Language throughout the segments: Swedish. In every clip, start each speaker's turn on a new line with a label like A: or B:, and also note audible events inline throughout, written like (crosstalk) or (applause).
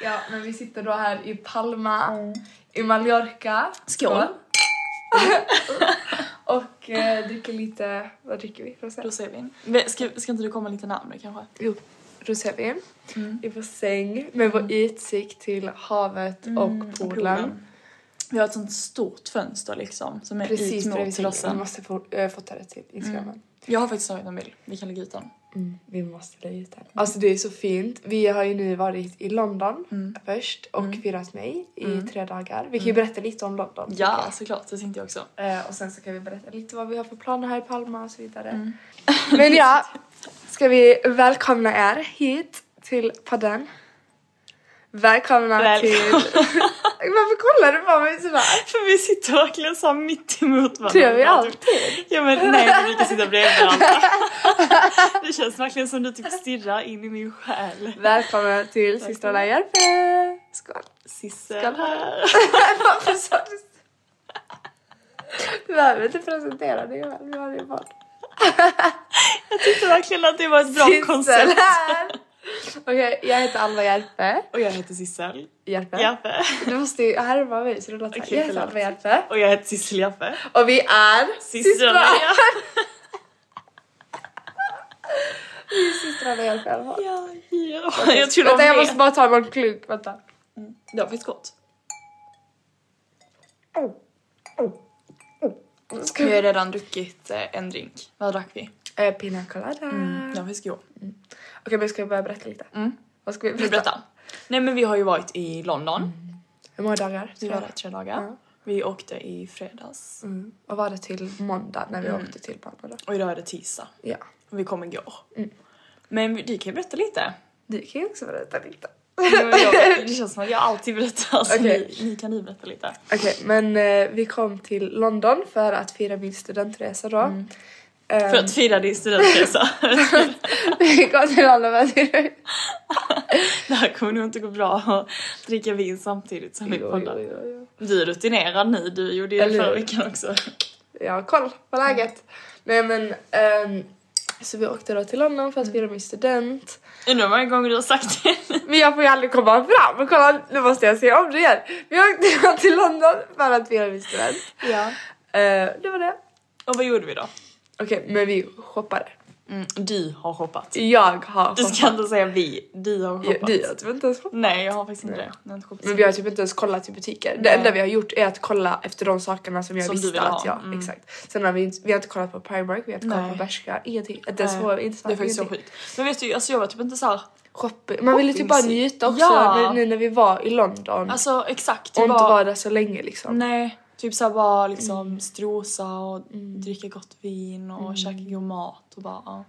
A: Ja, men vi sitter då här i Palma, i Mallorca.
B: Skål!
A: (laughs) Och eh, dricker lite, vad dricker vi? Rosé?
B: Rosévin. Men Ska, ska inte du komma lite närmare kanske?
A: Jo, rosévin. I vår säng med vår utsikt till havet Mm. och poolen.
B: Vi har ett sånt stort fönster liksom som är
A: Precis
B: ut mot
A: bredvid sängen. Vi
B: terrassen.
A: måste få, äh, fota det till instagramen.
B: Jag har faktiskt tagit en bild. Vi kan lägga ut den.
A: Vi måste lägga ut den. Alltså det är så fint. Vi har ju nu varit i London först och firat mig i tre dagar. Vi kan ju berätta lite om London. tycker
B: Ja, såklart. Det tänkte jag också.
A: jag. Eh, och sen så kan vi berätta lite vad vi har för planer här i Palma och så vidare. Mm. (laughs) Men ja, ska vi välkomna er hit till podden. Välkomna till... (laughs) Varför kollar du på mig sådär?
B: (laughs) För vi sitter verkligen så här mitt emot varandra.
A: Det gör vi alltid.
B: Ja men nej, vi brukar sitta bredvid (laughs) varandra. Det känns verkligen som du typ stirrar in i min själ.
A: Välkomna till systrarna Järpe! Skål!
B: Sissel här.
A: Varför sa du så? Du behöver inte presentera dig själv, vi har det i podd.
B: Jag tyckte (laughs) verkligen att det var ett bra
A: Sissel
B: (laughs) koncept.
A: här! Okej, jag heter Alva Järpe.
B: Och jag heter Sissel.
A: Järpe.
B: Jaffe.
A: Du måste ju härma mig så det låter
B: Okej,
A: okay, Jag heter
B: förlåt.
A: Alva Järpe.
B: Och jag heter Sissel Jaffe.
A: Och vi är
B: Systrarna (laughs)
A: Systrarna Järpe i alla fall.
B: Ja, ja. Jag tror de
A: Vänta, jag
B: vet.
A: måste bara ta en klunk. Vänta.
B: Mm. Det var faktiskt gott.
A: Ska
B: Vi
A: vi...
B: har redan druckit eh, en drink. Mm. Vad drack vi?
A: Eh, Pina colada.
B: Den var faktiskt god.
A: Mm. Okej, men ska vi börja berätta lite?
B: Mm.
A: Vad ska vi
B: Vill du
A: berätta?
B: berätta? Nej men vi har ju varit i London.
A: Hur många dagar?
B: Vi var där tre dagar.
A: Ja.
B: Vi åkte i fredags.
A: Mm. Och var det till måndag när vi åkte till Palma då?
B: Och idag är det tisdag.
A: Mm. Ja.
B: Och vi kom igår. Men vi- du kan ju berätta lite.
A: Du kan ju också berätta lite.
B: Nej, men jag- Det känns som att jag alltid berättar så
A: Okej.
B: ni, ni kan ni berätta lite.
A: (laughs) Okej, men eh, vi kom till London för att fira min studentresa då.
B: Mm.
A: Ehm,
B: För att fira din studentresa.
A: (laughs) vi kom till London för att fira...
B: (laughs) det här kommer nog inte gå bra att dricka vin samtidigt som vi
A: Jo, jo,
B: poddar.
A: jo, jo.
B: Du är rutinerad nu, du gjorde ju det
A: Eller
B: förra
A: hur?
B: veckan också.
A: Jag har koll på
B: Mm.
A: läget. Nej men, ehm, så vi åkte då till London för
B: Mm.
A: att fira min student.
B: Undrar hur många gånger du har sagt det.
A: Men jag får ju aldrig komma fram. Men kolla, nu måste jag se om det igen. Vi åkte (laughs) då till London för att fira min student.
B: Ja.
A: Eh, det var det.
B: Och vad gjorde vi då?
A: Okej, men vi shoppade.
B: Mm, du har hoppat.
A: Jag har
B: Du ska
A: shoppat.
B: inte säga vi. Du har
A: Ja,
B: hoppat.
A: Du har typ inte ens shoppat.
B: Nej, jag har faktiskt inte det. Jag har inte hoppat. Eh,
A: Men vi har typ inte ens kollat i butiker. Det
B: Mm. Nej.
A: enda vi har gjort är att kolla efter de sakerna som jag
B: Som du
A: visste
B: vill
A: att
B: ha.
A: jag...
B: Mm.
A: Exakt. Sen har vi, inte- vi har inte kollat på Primark, vi har inte kollat
B: Nej.
A: på Bershka, ingenting. Inte ens
B: Nej,
A: vår inte
B: Det är faktiskt så sjukt. Men vet du, alltså jag var typ inte
A: Mm.
B: såhär...
A: Shopping. Man ville typ bara
B: Shopping.
A: njuta också
B: Ja.
A: när, nu när vi var i London.
B: Alltså exakt.
A: och
B: det
A: inte Mm.
B: var-
A: vara där så länge liksom.
B: Nej. Typ såhär bara liksom strosa och
A: Mm.
B: dricka gott vin och käka god mat och bara... Ja.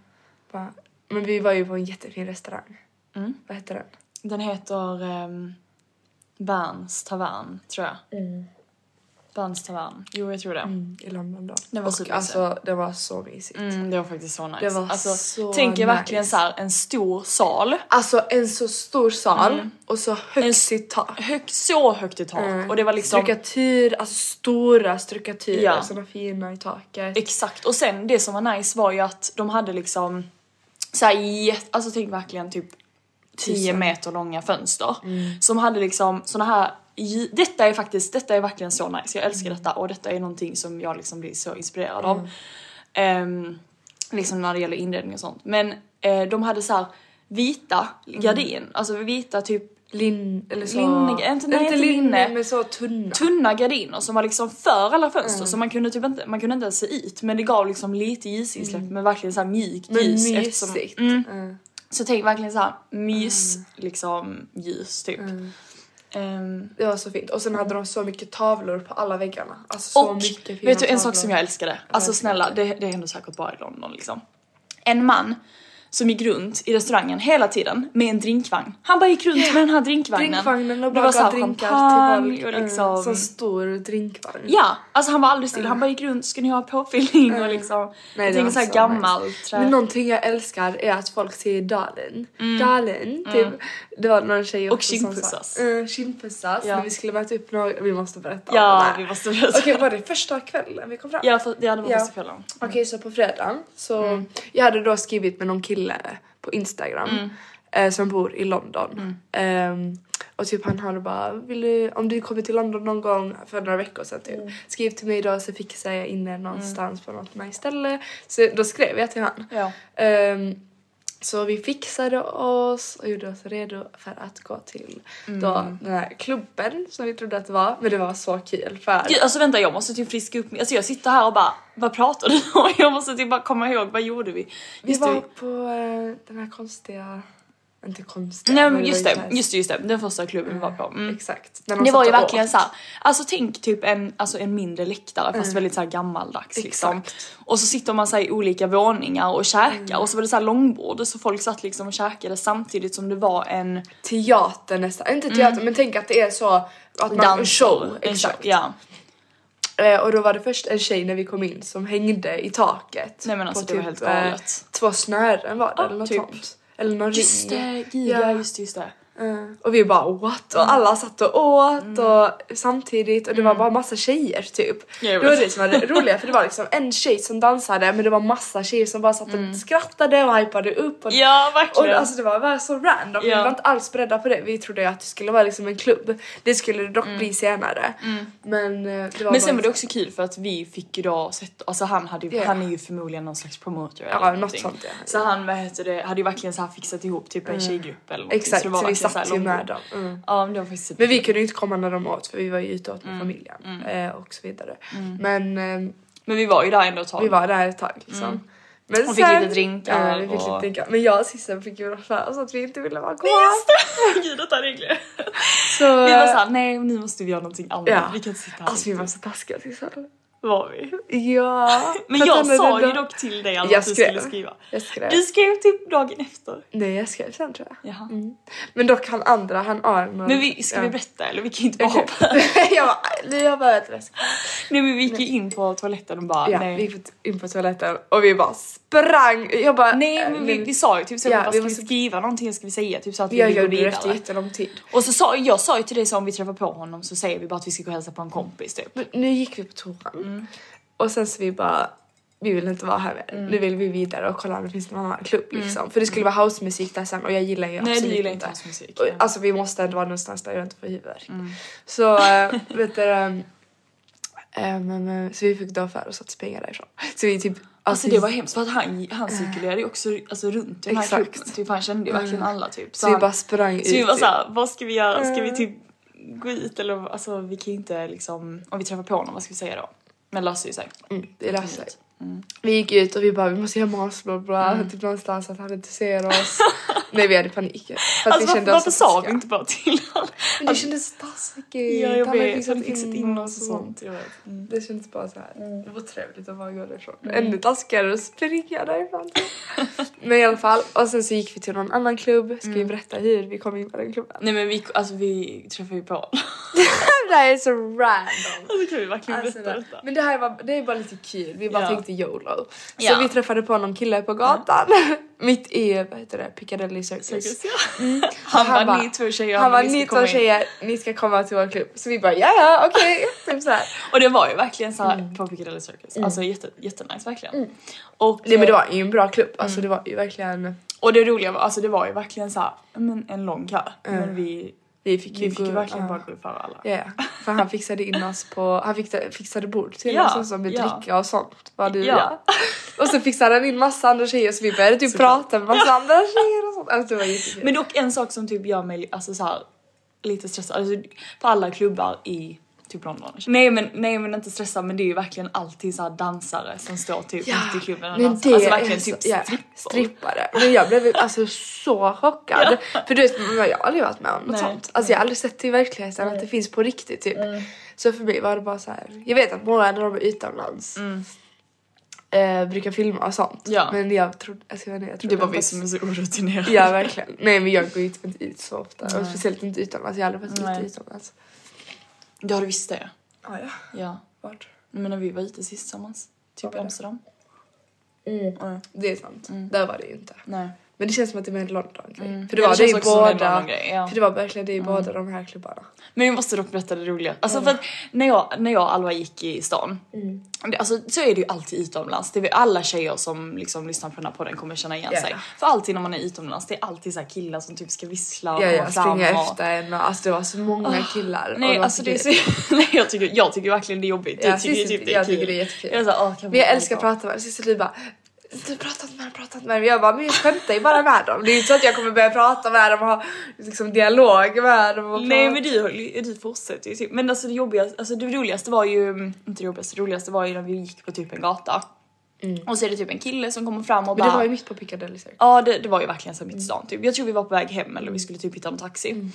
A: Bara- Men
B: Mm.
A: vi var ju på en jättefin restaurang. Vad hette den?
B: Den heter... ehm, Bans Tavan, tror jag.
A: Mm.
B: Bans Tavan. Jo, jag tror det.
A: i London då.
B: Det var
A: och
B: supermysigt.
A: alltså det var så mysigt.
B: Mm, det var faktiskt så nice.
A: Det var
B: alltså,
A: så
B: tänk er verkligen
A: nice.
B: så här, en stor sal.
A: Alltså en så stor sal och så högt i tak.
B: Högt, så högt i Mm. tak.
A: Mm.
B: Och det var liksom...
A: Strukatyr, alltså stora strukatyrer
B: Ja.
A: som var fina i taket.
B: Exakt. Och sen det som var nice var ju att de hade liksom... Så här, jätte- alltså tänk verkligen typ 10
A: Tusen.
B: meter långa fönster. Som hade liksom såna här... j- Detta är faktiskt, detta är verkligen så nice. Jag älskar detta och detta är någonting som jag liksom blir så inspirerad av. Ehm, liksom när det gäller inredning och sånt. Men eh, de hade så här vita gardin, alltså vita typ
A: Lin, eller så...
B: Linne- inte- nej, inte linne.
A: men så tunna.
B: tunna gardiner som var liksom för alla fönster
A: Mm.
B: så man kunde typ inte, man kunde inte ens se ut men det gav liksom lite ljusinsläpp men verkligen så här mjukt
A: Mm. men
B: ljus
A: mysigt.
B: eftersom,
A: Mm.
B: så tänk verkligen så här mys liksom ljus typ.
A: Mm.
B: Ehm,
A: Det var så fint. Och sen hade de så mycket tavlor på alla väggarna. Alltså så
B: och
A: mycket fina
B: vet du en sak
A: tavlor.
B: som jag älskade? Alltså
A: verkligen.
B: snälla det, det händer säkert bara i London liksom. En man som gick runt i restaurangen hela tiden med en drinkvagn. Han bara gick
A: (gasps)
B: runt med den här drinkvagnen.
A: Drinkvagnen och
B: Det
A: bara
B: var så
A: gav
B: här
A: drinkar
B: champagne
A: till folk.
B: och liksom...
A: Mm. Sån stor drinkvagn.
B: Ja, alltså han var aldrig still. Han bara gick runt, ska ni ha påfyllning och liksom.
A: Mm. Nej,
B: jag
A: det
B: tänker
A: var
B: såhär
A: så
B: gammal
A: nice.
B: trä.
A: Men någonting jag älskar är att folk säger darling. Darling, typ. Det var någon tjej
B: Mm. Och
A: också som
B: kindpussas.
A: sa- Eh, kindpussas.
B: Ja.
A: När vi skulle möta upp några, vi måste berätta om det
B: ja,
A: här.
B: vi måste berätta.
A: Okej, var det första kvällen vi kom fram?
B: Ja, för, ja, det var
A: Ja.
B: första kvällen.
A: Okej, så på fredagen så... Jag hade då skrivit med någon kille på Instagram eh, som bor i London. Ehm, och typ han hade bara, Vill du, om du kommer till London någon gång för några veckor sedan typ. Skriv till mig idag så fixar jag in er någonstans på något nice ställe. Så då skrev jag till han.
B: Ja.
A: Ehm, så vi fixade oss och gjorde oss redo för att gå till då, den här klubben som vi trodde att det var. Men det var så kul för...
B: Gud, alltså vänta jag måste typ friska upp mig. Alltså jag sitter här och bara, vad pratar du om? (laughs) Jag måste typ bara komma ihåg, vad gjorde vi?
A: Vi
B: Just
A: var
B: det,
A: på eh, den här konstiga... Inte konstiga.
B: Nej
A: men
B: men
A: var
B: just
A: ju så
B: det,
A: här-
B: just det, just det. Den första klubben vi var på. Mm.
A: Exakt. När de
B: Det
A: satt
B: var ju
A: och
B: verkligen
A: åt.
B: såhär, alltså tänk typ en, alltså en mindre läktare
A: Mm.
B: fast väldigt såhär gammaldags liksom. Och så sitter man såhär i olika våningar och käkar
A: Mm.
B: och så var det såhär långbord så folk satt liksom och käkade samtidigt som det var en
A: Teater nästan. Inte
B: Mm.
A: teater men tänk att det är så att man en show.
B: En show,
A: Exakt.
B: ja.
A: Eh, och då var det först en tjej när vi kom in som hängde i taket.
B: Nej, men alltså,
A: på
B: det var helt galet.
A: eh, Två snören var det
B: Ja,
A: eller något
B: typ.
A: sånt. Eller någon
B: Just
A: ring.
B: det, gud, ja.
A: Ja.
B: just det, just det.
A: Eh, och vi bara what?
B: Mm.
A: Och alla satt och åt och samtidigt och det var bara massa tjejer typ.
B: Ja, jag
A: det var
B: vet.
A: det som var det roliga för det var liksom en tjej som dansade men det var massa tjejer som bara satt och skrattade och hypade upp. Och
B: Mm. Ja,
A: Och
B: verkligen.
A: alltså det var bara så random,
B: Ja.
A: vi var inte alls beredda på det. Vi trodde ju att det skulle vara liksom en klubb. Det skulle det dock bli senare. Men, eh, det var bara
B: Mm. men sen var det
A: liksom-
B: också kul för att vi fick ju då sett, alltså han, hade, ju-
A: Ja.
B: han är ju förmodligen någon slags promoter
A: Ja,
B: eller
A: något
B: någonting.
A: sånt, ja. Mm.
B: Så han vad heter det, hade ju verkligen så här fixat ihop typ en tjejgrupp eller någonting.
A: Exakt,
B: det var
A: så vi
B: verkligen
A: satt
B: här
A: ju med
B: långbord.
A: dem, mm.
B: Ja, men det var faktiskt
A: Men vi kunde ju inte komma när de åt för vi var ju ute åt
B: Mm.
A: med familjen eh, och så vidare. Men eh,
B: Men vi var ju där ändå ett tag.
A: vi var där ett tag liksom. Men
B: Mm. Och fick lite drinkar
A: Ja, vi fick lite
B: och-
A: drinkar. Men jag och Sissel fick ju för oss att vi inte ville vara kvar.
B: (laughs) Gud detta är regler.
A: Så,
B: Vi var såhär, nej nu måste vi göra någonting annat.
A: eh, Ja.
B: Vi kan inte sitta här.
A: Alltså vi var så taskiga till varandra.
B: var vi.
A: Ja.
B: (laughs) Men
A: för att
B: jag
A: han är
B: sa
A: den
B: ju
A: där-
B: dock till dig alltså,
A: Jag
B: att du
A: skrev.
B: skulle skriva.
A: Jag skrev.
B: Du skrev typ dagen efter.
A: Nej jag skrev sen tror jag.
B: Jaha.
A: Men dock han andra, han Arnold.
B: Men vi, ska
A: Mm. ja.
B: vi berätta eller? Vi kan ju inte bara
A: Okej.
B: hoppa. (laughs)
A: (laughs) jag bara, nu har jag börjat läska.
B: Nej men vi gick ju in på toaletten och bara
A: Ja,
B: nej.
A: vi gick in på toaletten och vi bara sprang. Jag bara,
B: Nej
A: eh,
B: men vi, vi sa ju typ så
A: Ja,
B: ja,
A: vi
B: ska vi
A: måste-
B: skriva någonting ska vi säga typ så att vi
A: Jag
B: vill gå
A: gjorde det
B: vidare.
A: efter jättelång tid.
B: Och så sa jag sa ju till dig så om vi träffar på honom så säger vi bara att vi ska gå och hälsa på en kompis typ.
A: Nu gick vi på toan
B: Mm.
A: och sen så vi bara, vi vill inte vara här mer. Nu vill vi vidare och kolla om det finns någon annan klubb liksom. För det skulle vara housemusik där sen och jag gillar ju
B: Mm. du
A: absolut
B: gillar inte housemusik, Mm.
A: Och,
B: ja.
A: Alltså vi måste ändå vara någonstans där jag inte får huvudvärk. Så äh, vet du, ehm, ehm, ehm, så vi fick då för oss att springa därifrån. Så vi typ
B: Alltså det var hemskt för att han, han cirkulerade ju också alltså, runt i den
A: Eh,
B: här
A: Exakt. Mm.
B: klubben. Typ, han kände ju verkligen alla typ.
A: Så vi
B: han-
A: bara sprang
B: Så vi
A: ut,
B: var
A: typ. Mm.
B: såhär, vad ska vi göra? Ska vi typ gå ut eller alltså vi kan ju inte liksom, om vi träffar på honom vad ska vi säga då? Men löser ju sig.
A: Mm, det löser sig. Vi gick ut och vi bara vi måste gömma oss bla bla
B: Mm.
A: typ någonstans att han inte ser
B: (laughs)
A: oss. Nej vi hade panik. För att
B: Alltså varför, varför
A: oss
B: sa vi
A: taskiga.
B: inte bara till honom?
A: Men det kändes så taskigt.
B: Ja, jag
A: Han hade liksom
B: vet. Han fixat in oss och sånt. Jag vet. Mm.
A: Det kändes bara så här. Det var trevligt att bara gå därifrån. Ännu taskigare att springa därifrån. (laughs) Men i alla fall. Och sen så gick vi till någon annan klubb. Ska
B: Mm.
A: vi berätta hur vi kom in på den klubben?
B: Nej men vi, alltså, vi träffade ju
A: (laughs)
B: på honom.
A: Det här är så random.
B: Alltså kan vi verkligen
A: Alltså,
B: berätta detta?
A: men det här var, det är bara lite kul, vi bara
B: Ja.
A: tänkte YOLO.
B: Ja.
A: Så vi träffade på någon kille på gatan, (laughs) mitt i vad heter det, Piccadilly Circus.
B: Cirkus, ja. Han,
A: Mm. Han
B: bara
A: bara-
B: ni två tjejer,
A: Han var
B: ska
A: ni
B: komma
A: två
B: in."
A: tjejer, ni ska komma till vår klubb. Så vi bara ja ja
B: (laughs)
A: okej. typ så här.
B: Och det var ju verkligen såhär
A: Mm.
B: på Piccadilly Circus. Alltså jätte, jättenice verkligen. Och,
A: Nej men det var ju en bra klubb, alltså
B: Mm.
A: det var ju verkligen.
B: och det roliga var, alltså det var ju verkligen såhär, men en lång kö. Men vi,
A: Mm. Vi fick ju
B: vi fick ju
A: gå-
B: verkligen
A: ja.
B: bara gå före alla.
A: Ja, ja. för han fixade in oss på, han fixade, fixade bord till
B: Ja,
A: oss och så med
B: ja.
A: dricka och sånt. Var det ju,
B: Ja.
A: ja. Och så fixade han in massa andra tjejer så vi började typ prata med massa andra tjejer och sånt. Alltså det var jättekul.
B: Men dock en sak som typ gör mig alltså, så här, lite stressad, alltså, på alla klubbar i typ London. Nej men, nej men inte stressad men det är ju verkligen alltid så här dansare som står typ mitt i klubben och
A: men
B: dansar.
A: det
B: Alltså
A: är
B: verkligen
A: så-
B: typ
A: ja,
B: strippor.
A: strippare. Men jag blev alltså så chockad. För du vet, jag har aldrig varit med om något
B: Nej. Mm.
A: sånt. Alltså jag har aldrig sett det i verkligheten att det finns på riktigt typ. Så för mig var det bara så här. Jag vet att många när de är utomlands eh, brukar filma och sånt.
B: Mm. Ja.
A: Men jag trodde, alltså jag, vet inte, jag trodde
B: Det var
A: inte
B: vi
A: att-
B: som är så orutinerade.
A: Ja verkligen. Nej men jag går ju typ inte ut så ofta. Och speciellt inte utomlands. Jag har aldrig varit
B: Nej.
A: ute utomlands.
B: Du har du visst det?
A: Ah, ja.
B: Ja.
A: Vart?
B: Men när vi var ute sist tillsammans. Typ Amsterdam.
A: Det är sant.
B: Mm.
A: Där var det ju inte.
B: Nej.
A: Men det känns som att det var en London-grej. För det
B: Mm. Ja, det
A: var det i
B: känns också som en
A: båda.
B: London-grej, ja. Mm.
A: För det var verkligen det i båda de här klubbarna.
B: Men jag måste dock berätta det roliga. Alltså för att när jag, när jag och Alva gick i stan,
A: Mm.
B: det, alltså, så är det ju alltid utomlands. Det är väl alla tjejer som liksom lyssnar på den här podden kommer känna igen
A: Ja,
B: sig.
A: ja.
B: För alltid när man är utomlands, det är alltid så här killar som typ ska vissla och
A: Ja,
B: komma
A: ja,
B: fram.
A: springa
B: och...
A: efter en och alltså det var så många killar. och
B: Nej,
A: var
B: alltså det är
A: kul.
B: så... (laughs) Nej, jag tycker, jag tycker verkligen det är jobbigt.
A: Ja,
B: jag tycker
A: Cissi-
B: typ det är
A: jag
B: kul.
A: tycker det är jättekul.
B: Jag, är så här, "Åh, kan
A: Men
B: vi
A: jag
B: prata
A: älskar att
B: om?"
A: prata med Cissi Li bara du pratat med honom, pratat med honom. Jag bara, men jag skämtar ju bara med dem. Det är ju inte så att jag kommer börja prata med dem och ha liksom dialog med dem. Och
B: Nej
A: prata.
B: men du, höll- du fortsätter ju typ. Men alltså det roligaste, alltså det roligaste var ju, inte det roligaste, det roligaste var ju när vi gick på typ en gata. Och så är det typ en kille som kommer fram och
A: Mm. Men
B: bara...
A: det var ju mitt på Piccadilly Circus.
B: Ja det, det var ju verkligen
A: Mm.
B: så här mitt i stan typ. Jag tror vi var på väg hem eller vi skulle typ hitta en taxi.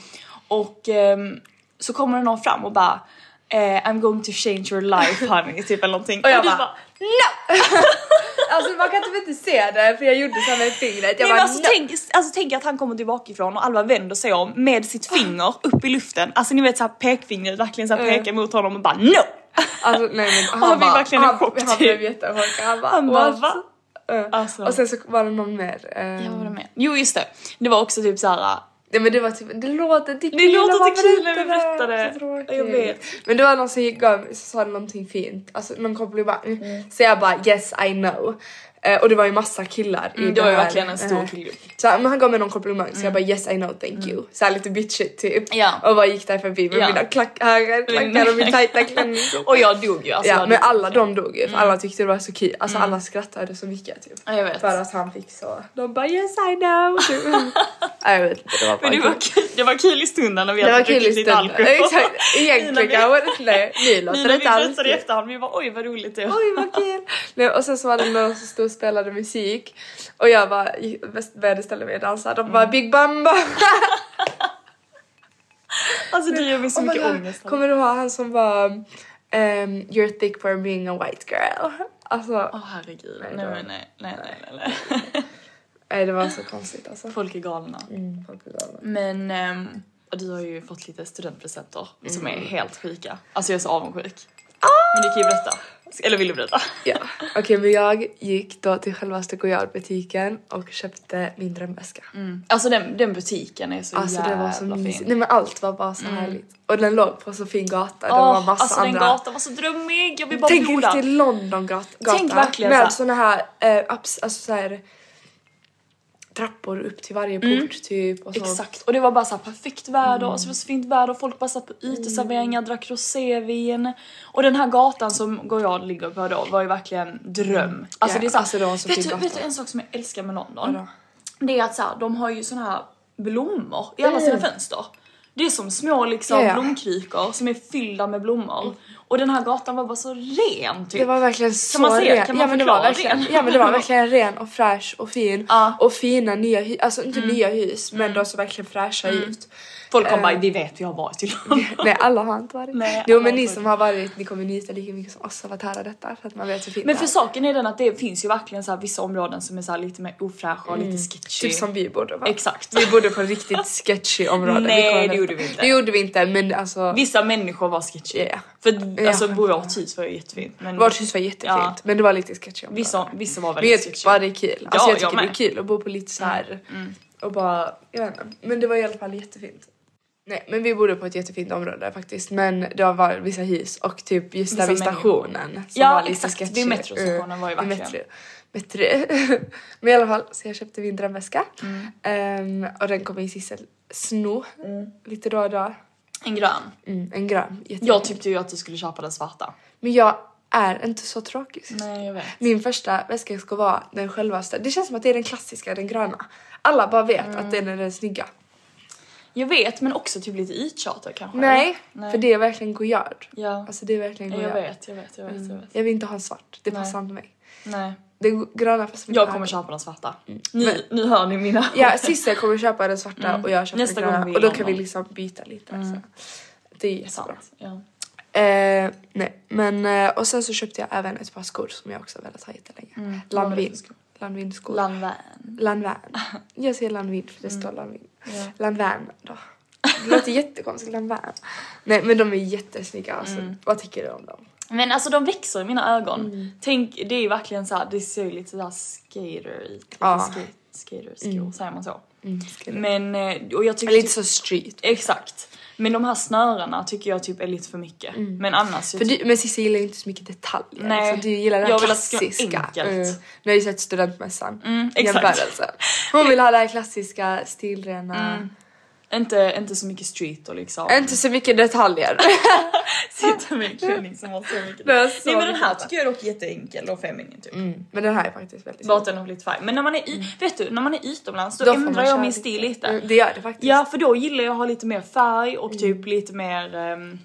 B: Och ehm, så kommer det någon fram och bara eh, I'm going to change
A: (laughs)
B: your life honey typ eller någonting.
A: Och jag
B: du
A: bara, (laughs) Alltså man kan typ inte se det för jag gjorde så här med fingret. Jag
B: Nej, men
A: bara,
B: alltså,
A: "No."
B: tänk, alltså tänk att han kommer tillbaka ifrån och Alva vänder sig om med sitt
A: Ah.
B: finger upp i luften. Alltså ni vet såhär pekfingret verkligen såhär
A: Mm.
B: pekar mot honom och bara NO!
A: Alltså
B: (laughs)
A: nej men
B: Han blev verkligen en
A: han,
B: chock,
A: han
B: typ.
A: blev jättehård. Han bara,
B: Han bara,
A: "What?"
B: "Va?"
A: Ja.
B: Alltså.
A: Och sen så var det någon mer. eh,
B: Jag var med. Jo just det, det var också typ såhär
A: Nej men det var typ, det låter tequila
B: Det låter
A: man
B: tequila, vi
A: Så
B: berättade.
A: tråkigt.
B: Jag vet.
A: Men det var någon som gick gav, så sa någonting fint, alltså någon kompis bara mm. Så jag bara yes I know. Eh, och det var ju massa killar. i
B: Mm, det var ju
A: här,
B: verkligen en stor
A: eh,
B: killgrupp.
A: Så här, men han gav mig någon komplimang så jag bara yes I know thank you. Så här lite bitchigt typ.
B: Ja.
A: Och bara gick där förbi med
B: Ja.
A: mina klack, höga klackar och
B: (laughs)
A: min tajta klänning.
B: mm. och jag dog ju.
A: mm.
B: Alltså,
A: Ja,
B: jag
A: men
B: dog.
A: alla de dog ju för alla tyckte det var så kul. Alltså alla skrattade så mycket typ.
B: Mm. Ja, jag vet.
A: För att han fick så. De bara yes I know. (laughs) Typ. ja, jag vet inte, det var bara
B: Men det
A: kul.
B: var, kul- det var kul i stunden när vi
A: Det var
B: hade
A: kul
B: druckit
A: i
B: lite
A: stunden.
B: alkohol.
A: Exakt, (laughs) egentligen
B: Innan vi-
A: kanske det- nej, nu
B: Nu
A: låter det
B: när vi
A: inte alls
B: berättade i
A: kul.
B: efterhand, vi var oj vad roligt det var.
A: Oj vad kul! Nej, och sen så var det någon som stod och spelade musik och jag bara gick- började ställa mig och dansa. De
B: Mm.
A: bara Big Bamba!
B: Alltså det gör mig så
A: Oh my
B: mycket
A: God.
B: ångest. alltså.
A: Kommer du ihåg han som var ehm, You're thick for being a white girl? Alltså,
B: Åh herregud, nej
A: det var-
B: nej nej nej
A: (laughs)
B: nej nej.
A: nej, det var så konstigt alltså.
B: Folk är galna.
A: Folk är galna.
B: Mm. Men ehm, och du har ju fått lite studentpresenter som
A: Mm.
B: är helt sjuka. Alltså jag är så avundsjuk. Men du kan ju berätta. Eller vill du berätta?
A: Ah! Ja, okej men jag gick då till självaste Goyard-butiken och köpte min drömväska.
B: Alltså den, den butiken är så
A: Alltså
B: jävla
A: det var så mysigt.
B: fin.
A: Nej men allt var bara så härligt. Och den låg på så fin gata. det var
B: Åh,
A: massa
B: alltså den
A: andra.
B: gatan var så drömmig, jag vill bara
A: Tänk
B: bloda.
A: ut till London gata.
B: Tänk verkligen
A: med
B: så
A: såna här, eh, abs- alltså så här trappor upp till varje port typ. Och så.
B: Mm. Exakt, och det var bara så här perfekt väder,
A: Mm.
B: och så var det så fint väder och folk bara satt på uteserveringar, drack rosévin. Och den här gatan som Goyard ligger på då var ju verkligen dröm. Alltså
A: Ja,
B: det är så här,
A: alltså det var en så
B: vet,
A: fin
B: du,
A: gata.
B: vet du en sak som jag älskar med London? Det är att så här, de har ju såna här blommor i alla sina fönster. Det är som små liksom
A: Ja, ja.
B: blomkrukor som är fyllda med blommor. Och den här gatan var bara så ren typ.
A: Det var verkligen så
B: man säga-
A: ren.
B: kan man
A: ja, men det var
B: förklara
A: verkligen,
B: ren?
A: ja men det var verkligen ren och fräsch och fin.
B: Ja. Mm.
A: Och fina nya hus, alltså inte nya hus men de såg verkligen fräscha ut.
B: Folk kom bara,
A: eh,
B: vi vet vi har varit i
A: (laughs)
B: London.
A: Nej alla har inte varit.
B: Nej,
A: jo
B: alla
A: men
B: har
A: ni
B: inte
A: som har varit ni kommer njuta lika mycket som oss av att höra detta för att man vet hur fint
B: Men
A: det
B: för
A: är.
B: saken är den att det finns ju verkligen så här vissa områden som är så här lite mer ofräscha och lite sketchy.
A: Typ som vi borde va?
B: Exakt.
A: Vi bodde på ett riktigt sketchy område.
B: Nej,
A: Vi kommer
B: det gjorde
A: veta.
B: vi inte.
A: Det gjorde vi inte men alltså
B: Vissa människor var sketchy.
A: Ja.
B: För
A: Ja.
B: alltså vårt hus var ju jättefint. Men
A: vårt hus var jättefint
B: Ja.
A: men det var lite sketchy område.
B: Vissa, vissa var
A: Men
B: väldigt
A: jag tycker bara det är kul. Alltså
B: Typ Ja,
A: jag tycker
B: jag
A: det är
B: med. mm.
A: kul att bo på lite så här och bara, jag vet inte. Men det var i alla fall jättefint. Nej men vi bodde på ett jättefint område faktiskt men det var vissa hus och typ just där
B: Vissa
A: vid
B: människor.
A: stationen. som
B: Ja,
A: var lite
B: exakt. Vid
A: sketchy.
B: metrostationen
A: Mm,
B: var ju
A: vid
B: verkligen.
A: Metro. metro. (laughs) men i alla fall så jag köpte min drömväska
B: Mm.
A: Ehm, och den kommer ju Sissel sno lite då och då.
B: En grön.
A: Mm, en grön.
B: Jag tyckte ju att du skulle köpa den svarta.
A: Men jag är inte så tråkig. Sissel.
B: Nej jag vet.
A: Min första väska ska vara den självaste. Det känns som att det är den klassiska, den gröna. Alla bara vet
B: Mm.
A: att den är den snygga.
B: Jag vet men också typ lite yttjatar kanske.
A: Nej,
B: Nej.
A: för det är verkligen Goyard.
B: Ja.
A: Alltså det är Mm. verkligen
B: jag
A: Goyard.
B: vet, jag vet, jag vet, jag vet.
A: Jag vill inte ha en svart, det
B: Nej.
A: passar inte mig.
B: Nej.
A: Det gröna passar mig
B: Jag
A: inte.
B: kommer köpa den svarta. Nu, nu hör ni mina.
A: Mm. Ja, Sissel kommer köpa den svarta och jag köper
B: Mm. Nästa
A: den
B: gång vi
A: gröna.
B: är
A: Och då
B: i
A: kan vi
B: London.
A: liksom byta lite. Så. Det är jättebra.
B: (laughs) Sant. Ja.
A: Eh, nej, men eh, och sen så köpte jag även ett par skor som jag också velat ha jättelänge. Mm.
B: Vad var det
A: Landvin.
B: för skor?
A: Landvinskor.
B: Lanvin.
A: Landvärn.
B: Ah.
A: Jag säger Landvin för
B: Mm.
A: det står Landvin. Landvärn då.
B: (laughs)
A: Det låter jättekonstigt, Landvärn. Nej men de är jättesnygga alltså.
B: Mm.
A: Vad tycker du om dem?
B: Men alltså de växer i mina ögon.
A: Mm.
B: Tänk, det är ju verkligen så här, det ser ju lite såhär skater ut.
A: Ja. Mm.
B: Skate, skaterskor, säger man så?
A: skater.
B: Men, eh, och jag tycker...
A: Lite så street.
B: Exakt. Men de här snörena tycker jag typ är lite för mycket. Men annars... typ
A: Mm.
B: jag
A: För
B: tycker-
A: du, men Cissi gillar ju inte så mycket detaljer.
B: Nej.
A: Så du gillar det här
B: Jag vill att det ska vara
A: klassiska.
B: enkelt.
A: Nu har ju sett studentmässan. Mm,
B: exakt. Mm.
A: Hon vill ha det här klassiska, stilrena.
B: Inte, inte så mycket street och liksom...
A: Inte så mycket detaljer. (laughs)
B: Sitta med en klänning som har så mycket...
A: Det är så
B: Nej men den
A: mycket Mm.
B: här
A: detta.
B: tycker jag är dock jätteenkel och feminin typ.
A: men den här är faktiskt väldigt
B: Bara att den har blivit färg. Men när man är i, vet du, när man är utomlands då,
A: Mm. Då får man
B: ändrar jag
A: köra
B: min stil lite.
A: Mm, det gör det faktiskt. Mm.
B: Ja för då gillar jag att ha lite mer färg och typ lite mer... ehm,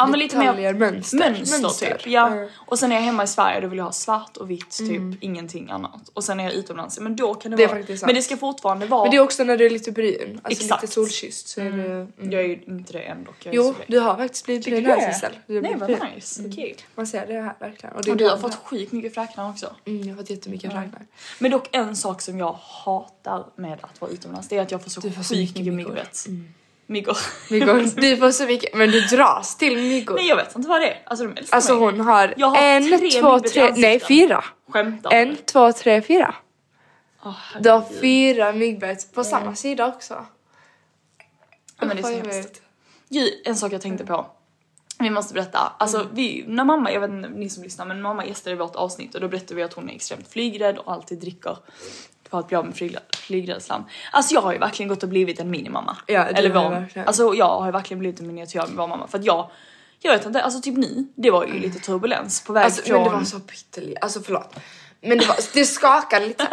B: Ja men lite
A: Detaljer,
B: mer
A: mönster.
B: mönster,
A: Mönster.
B: typ. Ja.
A: Mm.
B: Och sen när jag är hemma i Sverige då vill jag ha svart och vitt typ ingenting annat. Och sen när jag är utomlands, men då kan det,
A: Det är
B: vara...
A: faktiskt sant.
B: Men det ska fortfarande vara...
A: Men det är också när du är lite brun. Alltså
B: Exakt.
A: lite solkysst så är du... Mm.
B: Jag är ju inte det än dock. Jag är
A: Jo,
B: så blek.
A: du har faktiskt blivit brun
B: Tycker du
A: här
B: det?
A: Sissel. Du har
B: Nej
A: blivit
B: vad
A: brun.
B: nice, okej.
A: Man ser det här verkligen. Och, det är
B: Och du har
A: bra.
B: fått sjukt mycket fräknar också.
A: Mm, jag har fått jättemycket fräknar.
B: Men dock en sak som jag hatar med att vara utomlands det är att jag får så,
A: Du får så
B: sjukt
A: mycket
B: mycket
A: myggor.
B: myggor. Myggor. (laughs)
A: Myggor. Du får så mycket, men du dras till myggor.
B: Nej jag vet inte vad det är. Alltså de älskar
A: Alltså
B: mig.
A: hon har,
B: Jag har
A: en,
B: tre
A: två,
B: myggor i
A: tre, nej
B: ansiktet.
A: fyra.
B: Skämtar
A: En,
B: du?
A: två, tre, fyra.
B: Åh,
A: Du har
B: herregud.
A: fyra myggbett på samma sida också.
B: Ja, men det är så
A: Usch, vad
B: hemskt.
A: jobbigt.
B: Ju, en sak jag tänkte på. Vi måste berätta. Alltså
A: Mm.
B: vi, när mamma, jag vet inte ni som lyssnar men mamma gästade vårt avsnitt och då berättade vi att hon är extremt flygrädd och alltid dricker för att bli av med flygrädd, flygrädslan. Alltså jag har ju verkligen gått och blivit en minimamma.
A: Ja, det
B: Eller
A: har
B: vår,
A: jag verkligen.
B: Alltså jag har ju verkligen blivit en miniatyr av vår mamma för att jag, jag vet inte, alltså typ ni, det var ju lite turbulens på väg
A: Mm. Alltså,
B: från...
A: men det var så pyttelite, alltså förlåt. Men det, var, det skakade lite.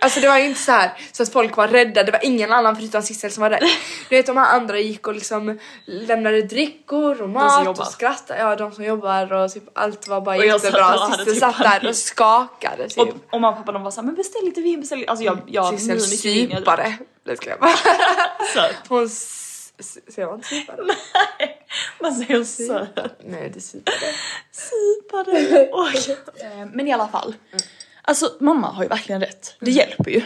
A: Alltså det var ju inte så här så att folk var rädda, det var ingen annan förutom Sissel som var rädd. Du vet de här andra gick och liksom lämnade drickor och mat
B: jobbar.
A: och skrattade. Ja de som jobbar och typ allt var bara
B: Och jag satt
A: jättebra.
B: och hade
A: Sissel
B: typ
A: satt där och
B: panik.
A: skakade. Typ.
B: och, och mamma och pappa de var såhär men beställ lite vin, beställ lite... Alltså jag, jag
A: Sissel
B: hur mycket vin Alltså, jag drack.
A: supade. Det ska jag bara. (laughs)
B: Söt.
A: Hon s- s- ser man inte supade?
B: Man säger söt.
A: Nej det supade.
B: Sipade. Oj. Eh, Men i alla fall.
A: Mm.
B: Alltså mamma har ju verkligen rätt. Det hjälper ju.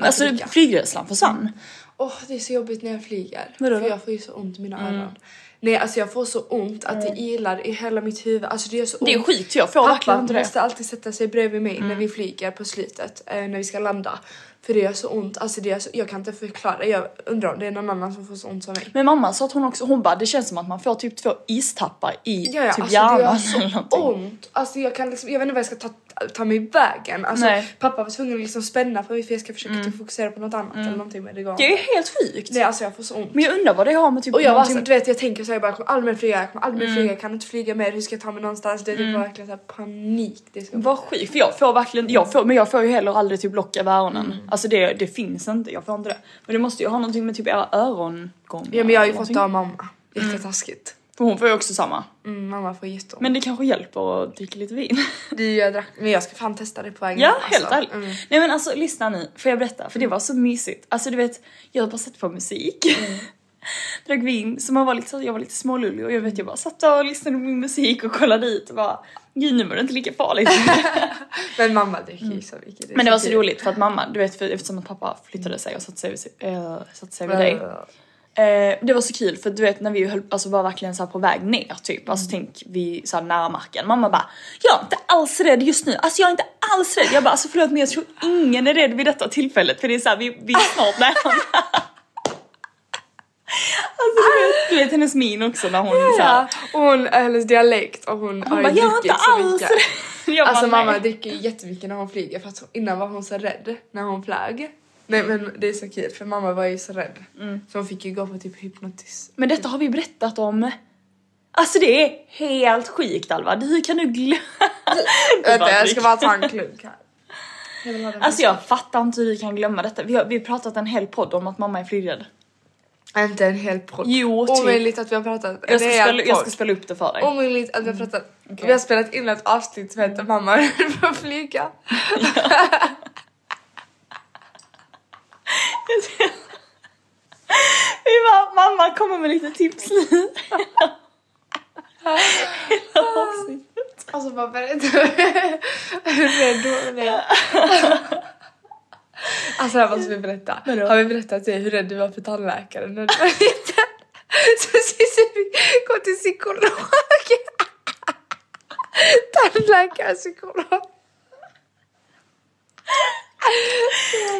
B: Alltså
A: dricka.
B: flygrädslan försvann.
A: Åh det är så jobbigt när jag flyger.
B: Vadå
A: För
B: då?
A: jag får ju så ont i mina
B: Mm.
A: öron. Nej alltså jag får så ont att det ilar i hela mitt huvud. Alltså det gör så ont.
B: Det är skit, jag får verkligen
A: Pappa
B: inte det. Mm.
A: måste alltid sätta sig bredvid mig när vi flyger på slutet, eh, när vi ska landa. För det gör så ont, alltså det gör så, jag kan inte förklara. Jag undrar om det är någon annan som får så ont som mig.
B: Men mamma sa att hon också, hon bara det känns som att man får typ två istappar i
A: Ja, ja, alltså
B: typ
A: det
B: hjärnan
A: gör
B: eller
A: så
B: någonting.
A: ont. Alltså jag kan liksom, jag vet inte vad jag ska ta, ta mig i vägen. Alltså,
B: Nej. Mm.
A: pappa var tvungen att liksom spänna för mig för jag ska försöka typ fokusera på något annat eller någonting men det går
B: Det är ju helt sjukt.
A: Nej alltså jag får så ont.
B: Men jag undrar vad det har med typ Mm.
A: Och jag var
B: någonting-
A: såhär, du vet jag tänker såhär, jag bara jag kommer aldrig mer flyga, jag kommer aldrig mer flyga, jag kan inte flyga mer, hur ska jag ta mig någonstans? Det är typ
B: Mm.
A: verkligen såhär panik. Det ska
B: Vad sjukt, för jag får verkligen, jag får, men jag får ju heller aldrig typ lock över öronen.
A: Mm.
B: Alltså det, det finns inte, jag får inte det. Men det måste ju ha någonting med typ era örongångar.
A: Ja men jag har ju fått
B: eller någonting.
A: det av mamma.
B: Mm.
A: Jättetaskigt.
B: För hon får ju också samma.
A: Mm, mamma får jätteont. Men
B: Men det kanske hjälper att dricka lite vin.
A: det jag drack, men jag ska fan testa det på vägen.
B: (laughs) ja,
A: hem,
B: helt
A: Mm, alltså. Mm.
B: ärligt. Nej men alltså lyssna nu, får jag berätta? För det var så mysigt. Alltså du vet, jag har bara satt på musik.
A: Mm.
B: (laughs) Drack vin, så man var lite, så- jag var lite smålullig och jag vet jag bara satt och lyssnade på min musik och kollade dit och bara Gud nu var det inte lika farligt. (laughs)
A: Men mamma dricker ju så mycket. är
B: Mm.
A: typ-
B: Men det var så
A: kul.
B: roligt för att mamma, du vet för, eftersom att pappa flyttade sig och satte sig, äh, satte sig vid
A: Ja,
B: dig.
A: ja, ja.
B: Eh, det var så kul för du vet när vi höll, alltså var verkligen så här på väg ner typ, alltså
A: Mm.
B: tänk vi så här nära marken. Mamma bara, jag är inte alls rädd just nu, alltså jag är inte alls rädd. Jag bara alltså förlåt men jag tror ingen är rädd vid detta tillfället för det är så här, vi, vi är snart
A: (laughs)
B: nära. alltså du vet, du vet hennes min också när hon så här,
A: Ja, och hon, hennes dialekt och hon, har
B: hon
A: ju
B: bara, jag är
A: druckit
B: inte
A: så
B: alls
A: mycket.
B: rädd. (laughs) Jag
A: Alltså
B: bara,
A: mamma
B: "Nej."
A: dricker ju jättemycket när hon flyger för att hon, innan var hon så rädd när hon flög. Nej men det är så kul för mamma var ju så rädd.
B: Mm.
A: Så hon fick ju gå på typ hypnotis.
B: Men detta har vi berättat om. Alltså det är helt sjukt Alva, hur kan du glömma?
A: Vänta jag ska bara ta en klunk här. Jag vill ha den
B: Alltså jag fattar inte hur du kan glömma detta. Vi har, vi har pratat en hel podd om att mamma är flygrädd.
A: här. Inte en hel podd.
B: Jo, typ.
A: Omöjligt att vi har pratat.
B: Jag ska,
A: Det är en
B: spela, jag
A: podd.
B: ska spela Mm, upp det för dig.
A: Omöjligt att vi har pratat. Vi har spelat in ett avsnitt som heter mamma får flyga.
B: (laughs) Vi bara, mamma kommer med
A: (laughs)
B: lite tips nu. Hela avsnittet.
A: Alltså bara berätta hur rädd hon är. Alltså det här måste vi berätta.
B: Vadå?
A: Har vi berättat det, hur rädd du var för tandläkaren när du (laughs) var liten? Så Cissi fick gå till psykolog. Tandläkare, psykolog.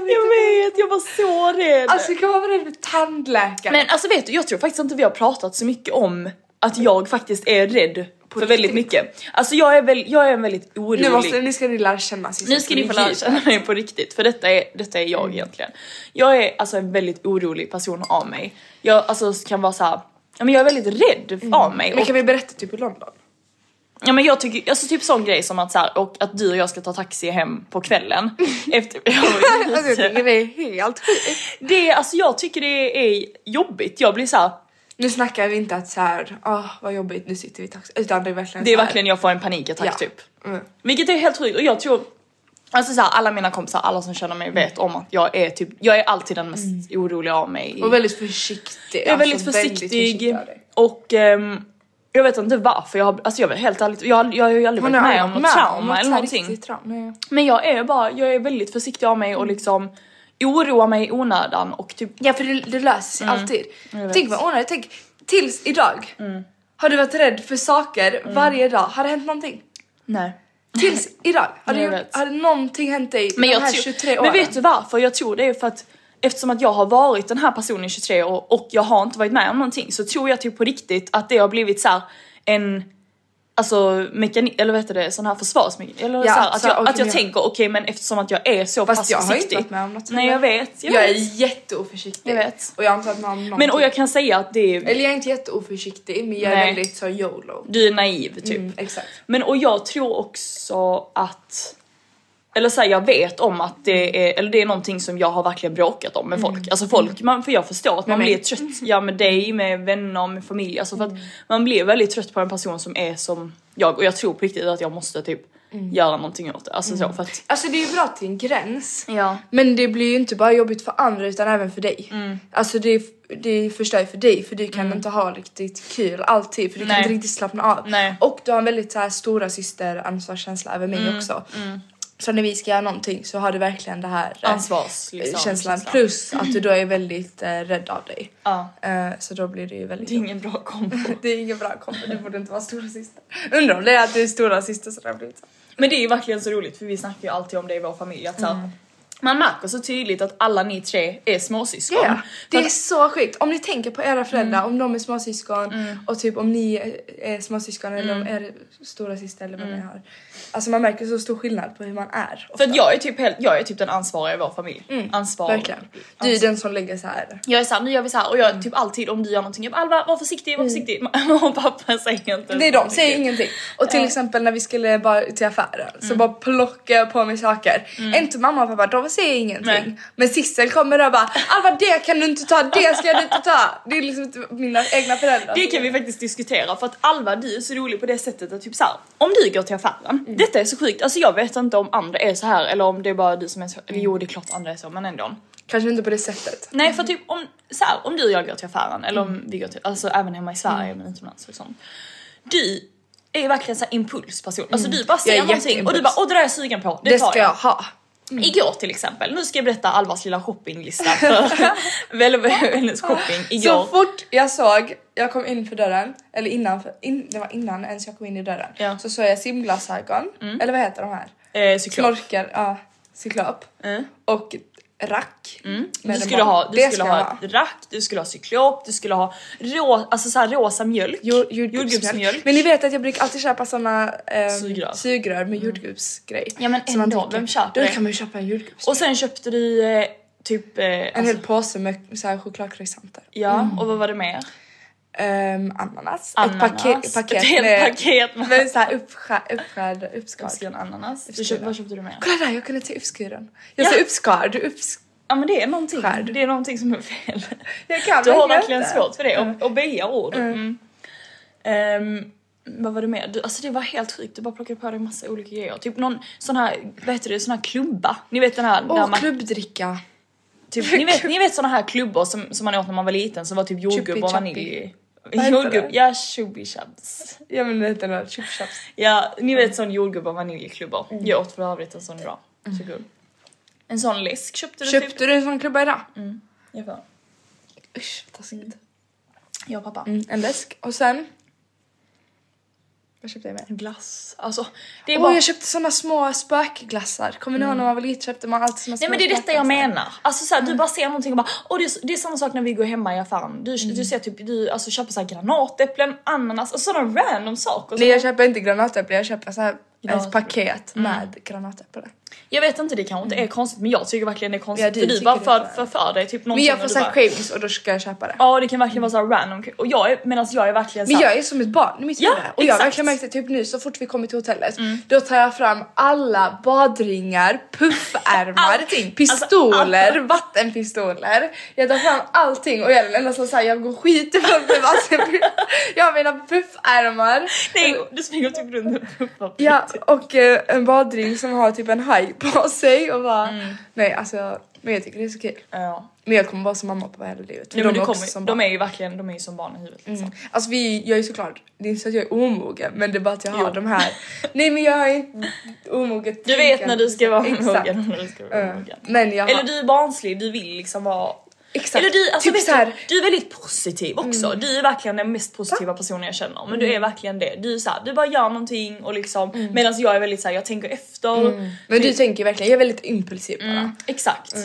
B: Jag vet, jag var så rädd.
A: Alltså kan man vara rädd för tandläkare?
B: Men alltså vet du, jag tror faktiskt inte vi har pratat så mycket om att jag faktiskt är rädd för väldigt mycket. Alltså jag är, väl, jag är en väldigt orolig...
A: nu, måste, nu ska Mm. ni lära känna Cissi.
B: Nu ska ni få lära känna mig på riktigt, för detta är, detta är jag egentligen. Jag är alltså en väldigt orolig person av mig. Jag alltså, kan vara så här, ja men jag är väldigt rädd av mig.
A: Mm. Men
B: Och,
A: kan vi berätta typ i (laughs) London?
B: ja, men jag tycker, alltså typ sån grej som att, så här, och att du och jag ska ta taxi hem
A: (laughs)
B: på kvällen. efter, (laughs)
A: Alltså jag tycker det är helt sjukt.
B: det, är- alltså, jag tycker det är jobbigt, jag blir så här,
A: Nu snackar vi inte att så här, åh vad jobbigt nu sitter vi i taxi. Utan det är verkligen
B: det är
A: så här-
B: verkligen jag får en panikattack
A: Ja.
B: typ.
A: Mm.
B: Vilket är helt sjukt och jag tror Alltså såhär, alla mina kompisar, alla som känner mig vet om att jag är typ, jag är alltid den mest oroliga av mig. i-
A: Och väldigt försiktig. Alltså,
B: Mm. Jag är väldigt försiktig och ehm, jag vet inte varför. Jag har, alltså jag är helt ärligt, jag, jag har ju aldrig varit med om något trauma eller någonting. Men jag är bara, jag är väldigt försiktig av mig och liksom oroar mig i onödan och typ
A: Ja för det, det löser sig alltid.
B: jag vet.
A: Tänk vad onödigt, tänk tills idag har du varit rädd för saker varje dag. Har det hänt (laughs) någonting?
B: nej.
A: Tills idag har,
B: Jag
A: du, gjort-
B: vet.
A: har någonting hänt dig
B: Men
A: de
B: jag
A: här
B: tror-
A: 23 åren?
B: Men vet du varför? Jag tror det är för att eftersom att jag har varit den här personen i 23 år och jag har inte varit med om någonting så tror jag typ på riktigt att det har blivit så här en Alltså mekanik, eller vad heter det, sån här försvarsmekanik. Eller
A: Ja,
B: så här, att,
A: så,
B: jag, att
A: okej,
B: jag
A: men-
B: tänker okej men eftersom att jag är så
A: Fast
B: pass
A: jag har
B: Alltså, försiktig.
A: inte varit med om något
B: Nej jag
A: heller.
B: vet, jag,
A: Jag är
B: vet.
A: jätteoförsiktig.
B: Jag vet.
A: Och jag har inte varit med om någonting.
B: Men och jag kan säga att det är,
A: Eller jag är inte jätteoförsiktig men jag är
B: Nej.
A: väldigt så YOLO.
B: du är naiv typ.
A: Mm, exakt.
B: Men och jag tror också att eller såhär jag vet om att det är, eller det är någonting som jag har verkligen bråkat om med folk. Alltså folk, man, för jag förstår att man
A: mig.
B: blir trött, ja med dig, med vänner, med familj. Alltså för att man blir väldigt trött på en person som är som jag och jag tror på riktigt att jag måste typ göra någonting åt det. Alltså så för att
A: Alltså det är ju bra till en gräns.
B: Ja.
A: Men det blir ju inte bara jobbigt för andra utan även för dig.
B: Mm.
A: Alltså det, det förstör ju för dig för du kan inte ha riktigt kul alltid för du kan
B: Nej.
A: inte riktigt slappna av.
B: Nej. Mm.
A: Och du har en väldigt så här stora syster ansvarskänsla över mig också. Så när vi ska göra någonting så har du verkligen det här eh,
B: Ansvars, liksom,
A: känslan.
B: känslan.
A: Plus att du då är väldigt eh, rädd av dig.
B: Ja.
A: Eh, så då blir det ju väldigt...
B: det är ingen bra kombo.
A: (laughs) Det är ingen bra kombo, du borde inte vara stora syster. Undrar om det är att du är stora syster som det har blivit så.
B: Men det är ju verkligen så roligt för vi snackar ju alltid om det i vår familj att så här, Man märker så tydligt att alla ni tre är småsyskon.
A: Ja, det
B: För
A: är
B: att-
A: så sjukt. Om ni tänker på era föräldrar,
B: Mm.
A: om de är småsyskon och typ om ni är- är småsyskon eller
B: Mm.
A: om er stora syster eller vad ni har. Alltså man märker så stor skillnad på hur man är.
B: för att jag är typ, helt, jag är typ den ansvariga i vår familj. Ansvarig.
A: Mm, Verkligen. Mm. Du är
B: Alltså-
A: den som lägger så här.
B: Jag är såhär, nu gör vi så här och jag är typ alltid om du gör någonting, jag bara, Alva var försiktig, var försiktig. (laughs) Mamma och pappa säger inte
A: Det är Mm. de, säger ingenting. Och till exempel när vi skulle bara till affären
B: Mm.
A: så bara plockade jag på mig saker. Inte mamma och pappa, de säger ingenting.
B: Nej.
A: Men Sissel kommer där och bara Alva det kan du inte ta, det ska du inte ta. Det är liksom inte mina egna föräldrar.
B: Det kan vi faktiskt diskutera för att Alva du är så rolig på det sättet att typ såhär, om du går till affären,
A: Mm.
B: detta är så sjukt, alltså jag vet inte om andra är så här eller om det är bara du som är så, eller
A: Mm.
B: jo det är klart andra är så men ändå.
A: Kanske inte på det sättet.
B: Nej för typ om, så här, om du och jag går till affären eller
A: Mm.
B: om vi går till, alltså även hemma i Sverige men utomlands och sånt. Du är ju verkligen såhär impulsperson, alltså du bara
A: Mm. Jag
B: ser
A: är
B: någonting och du bara
A: jätteimpuls.
B: åh det där är jag sugen på, det,
A: Det
B: tar
A: ska jag Mm. ha.
B: Igår till exempel, nu ska jag berätta Alvas
A: (laughs)
B: lilla shoppinglista för väl, väl, hennes shopping
A: Så
B: igår.
A: fort jag såg, jag kom in för dörren, eller innan, in, det var innan ens jag kom in i dörren.
B: Ja. Mm.
A: Så såg jag simglasögon, eller vad heter de här?
B: Eh, cyklop.
A: Snorkel, ja, cyklop.
B: Mm.
A: Och rack.
B: Du
A: Med
B: skulle
A: en
B: ha,
A: barn.
B: du
A: det
B: skulle
A: ska jag
B: ha ett rack, du skulle ha cyklop, du skulle ha rå, alltså så här rosa mjölk.
A: Jord, jordgubbsmjölk. Men ni vet att jag brukar alltid köpa såna ehm,
B: Sugrör. Mm.
A: sugrör med jordgubbsgrej.
B: Ja, men
A: Som man
B: ändå,
A: dricker.
B: vem köper
A: Då
B: det?
A: kan man ju köpa en jordgubbs.
B: Och sen köpte du eh, typ... Eh,
A: en
B: alltså-
A: hel Mm. påse med så här chokladkroissanter.
B: Ja, och vad var det mer?
A: Ehm, ananas.
B: Ananas.
A: Ett paket, paket
B: Ett helt
A: med,
B: paket med-
A: med så här uppskär, uppskärd, uppskärd.
B: Älskar ananas. Typ. Du
A: Uppskriven.
B: köpte, vad köpte du mer?
A: Kolla där, jag kunde ta uppskuren. Jag
B: Ja.
A: sa uppskärd, uppsk...
B: Ja men det är någonting,
A: Skärd.
B: det är någonting som är (laughs) fel.
A: Jag kan
B: Du har
A: verkligen
B: verkligen
A: inte.
B: svårt för det, och, och böja ord. Mm. Ehm, vad var det mer? Du, alltså det var helt sjukt, du bara plockade på dig massa olika grejer. Typ någon sån här, vad heter det, sån här klubba. Ni vet den här, där
A: Åh,
B: man-
A: klubbdricka.
B: typ, ni, vet, ni vet såna här klubbor som, som man åt när man var liten som var typ
A: Chuppy
B: jordgubb och
A: chuppy.
B: vanilj.
A: heter
B: Jordgubb,
A: det?
B: ja chubby chubs.
A: Ja men det heter något, chip chops.
B: Ja, ni vet sån jordgubb och vaniljklubbor. Jag åt för övrigt en sån idag. Så god. En sån läsk Mm. köpte du typ?
A: Köpte du en sån klubba idag?
B: Jag bara,
A: Usch, vad taskigt.
B: jag och pappa.
A: Mm, en läsk. Och sen... Vad köpte jag mer?
B: Glass, alltså. Det är
A: Åh
B: bara Mm.
A: jag köpte såna små spökglassar. Kommer ni ihåg när man var liten köpte man alltid såna små
B: Nej men det är detta jag
A: spökglassar.
B: menar. Alltså såhär,
A: Mm.
B: du bara ser någonting och bara och det, är, det är samma sak när vi går hemma i affären. Du,
A: Mm.
B: du ser typ, du alltså, köper såhär granatäpplen, ananas, alltså sådana random saker.
A: Nej
B: Som,
A: Alltså, jag köper inte granatäpple, jag köper så här
B: Granatäpple.
A: ett paket
B: Mm.
A: med granatäpple.
B: jag vet inte, det kanske inte är konstigt men jag tycker verkligen det är konstigt
A: Mm. Ja, du
B: för du
A: tycker
B: bara
A: det
B: för,
A: är
B: för, för dig typ
A: Men
B: någonting
A: jag får
B: och du
A: såhär
B: bara-
A: cravings och då ska jag köpa det.
B: Ja det kan verkligen vara såhär random och jag är, medan jag är verkligen
A: Men
B: såhär,
A: jag är som ett barn i mitt
B: Ja,
A: huvud. Och jag har
B: exakt. Mm.
A: verkligen märkt det typ nu så fort vi kommer till hotellet. Då tar jag fram alla badringar,
B: (laughs) Allting.
A: puffärmar,
B: Alltså,
A: pistoler,
B: allt.
A: vattenpistoler. Jag tar fram allting och jag är den enda som säger jag går skit ifrån mig. Alltså, (laughs) jag har mina puffärmar.
B: (laughs) nej du springer typ runt och puffar på
A: Ja, och eh, en badring som har typ en haj på sig och bara... Nej alltså, men jag tycker det är så kul.
B: Mm. Ja.
A: Men jag kommer vara som mamma och pappa hela livet. för
B: Nej, men
A: de
B: du
A: är också
B: kommer,
A: som barn.
B: de är ju verkligen, de är ju som barn i huvudet liksom.
A: Alltså vi, jag är såklart, det är inte så att jag är omogen men det är bara att jag har
B: Jo.
A: de här. Nej men jag har inte omoget
B: Du vet när du ska vara mogen
A: Exakt.
B: och (laughs) när du ska vara
A: Ja.
B: mogen.
A: Men jag har,
B: Eller du är barnslig, du vill liksom vara
A: exakt.
B: Eller du, alltså
A: typ
B: vet
A: så här, Mm.
B: du, du är väldigt positiv också. Du är verkligen den mest positiva personen jag känner. Men du är verkligen det. Du är så här, du bara gör någonting och liksom medan jag är väldigt så här, jag tänker efter.
A: Mm. men du tänker verkligen, jag är väldigt impulsiv bara.
B: Typ. Mm, Exakt.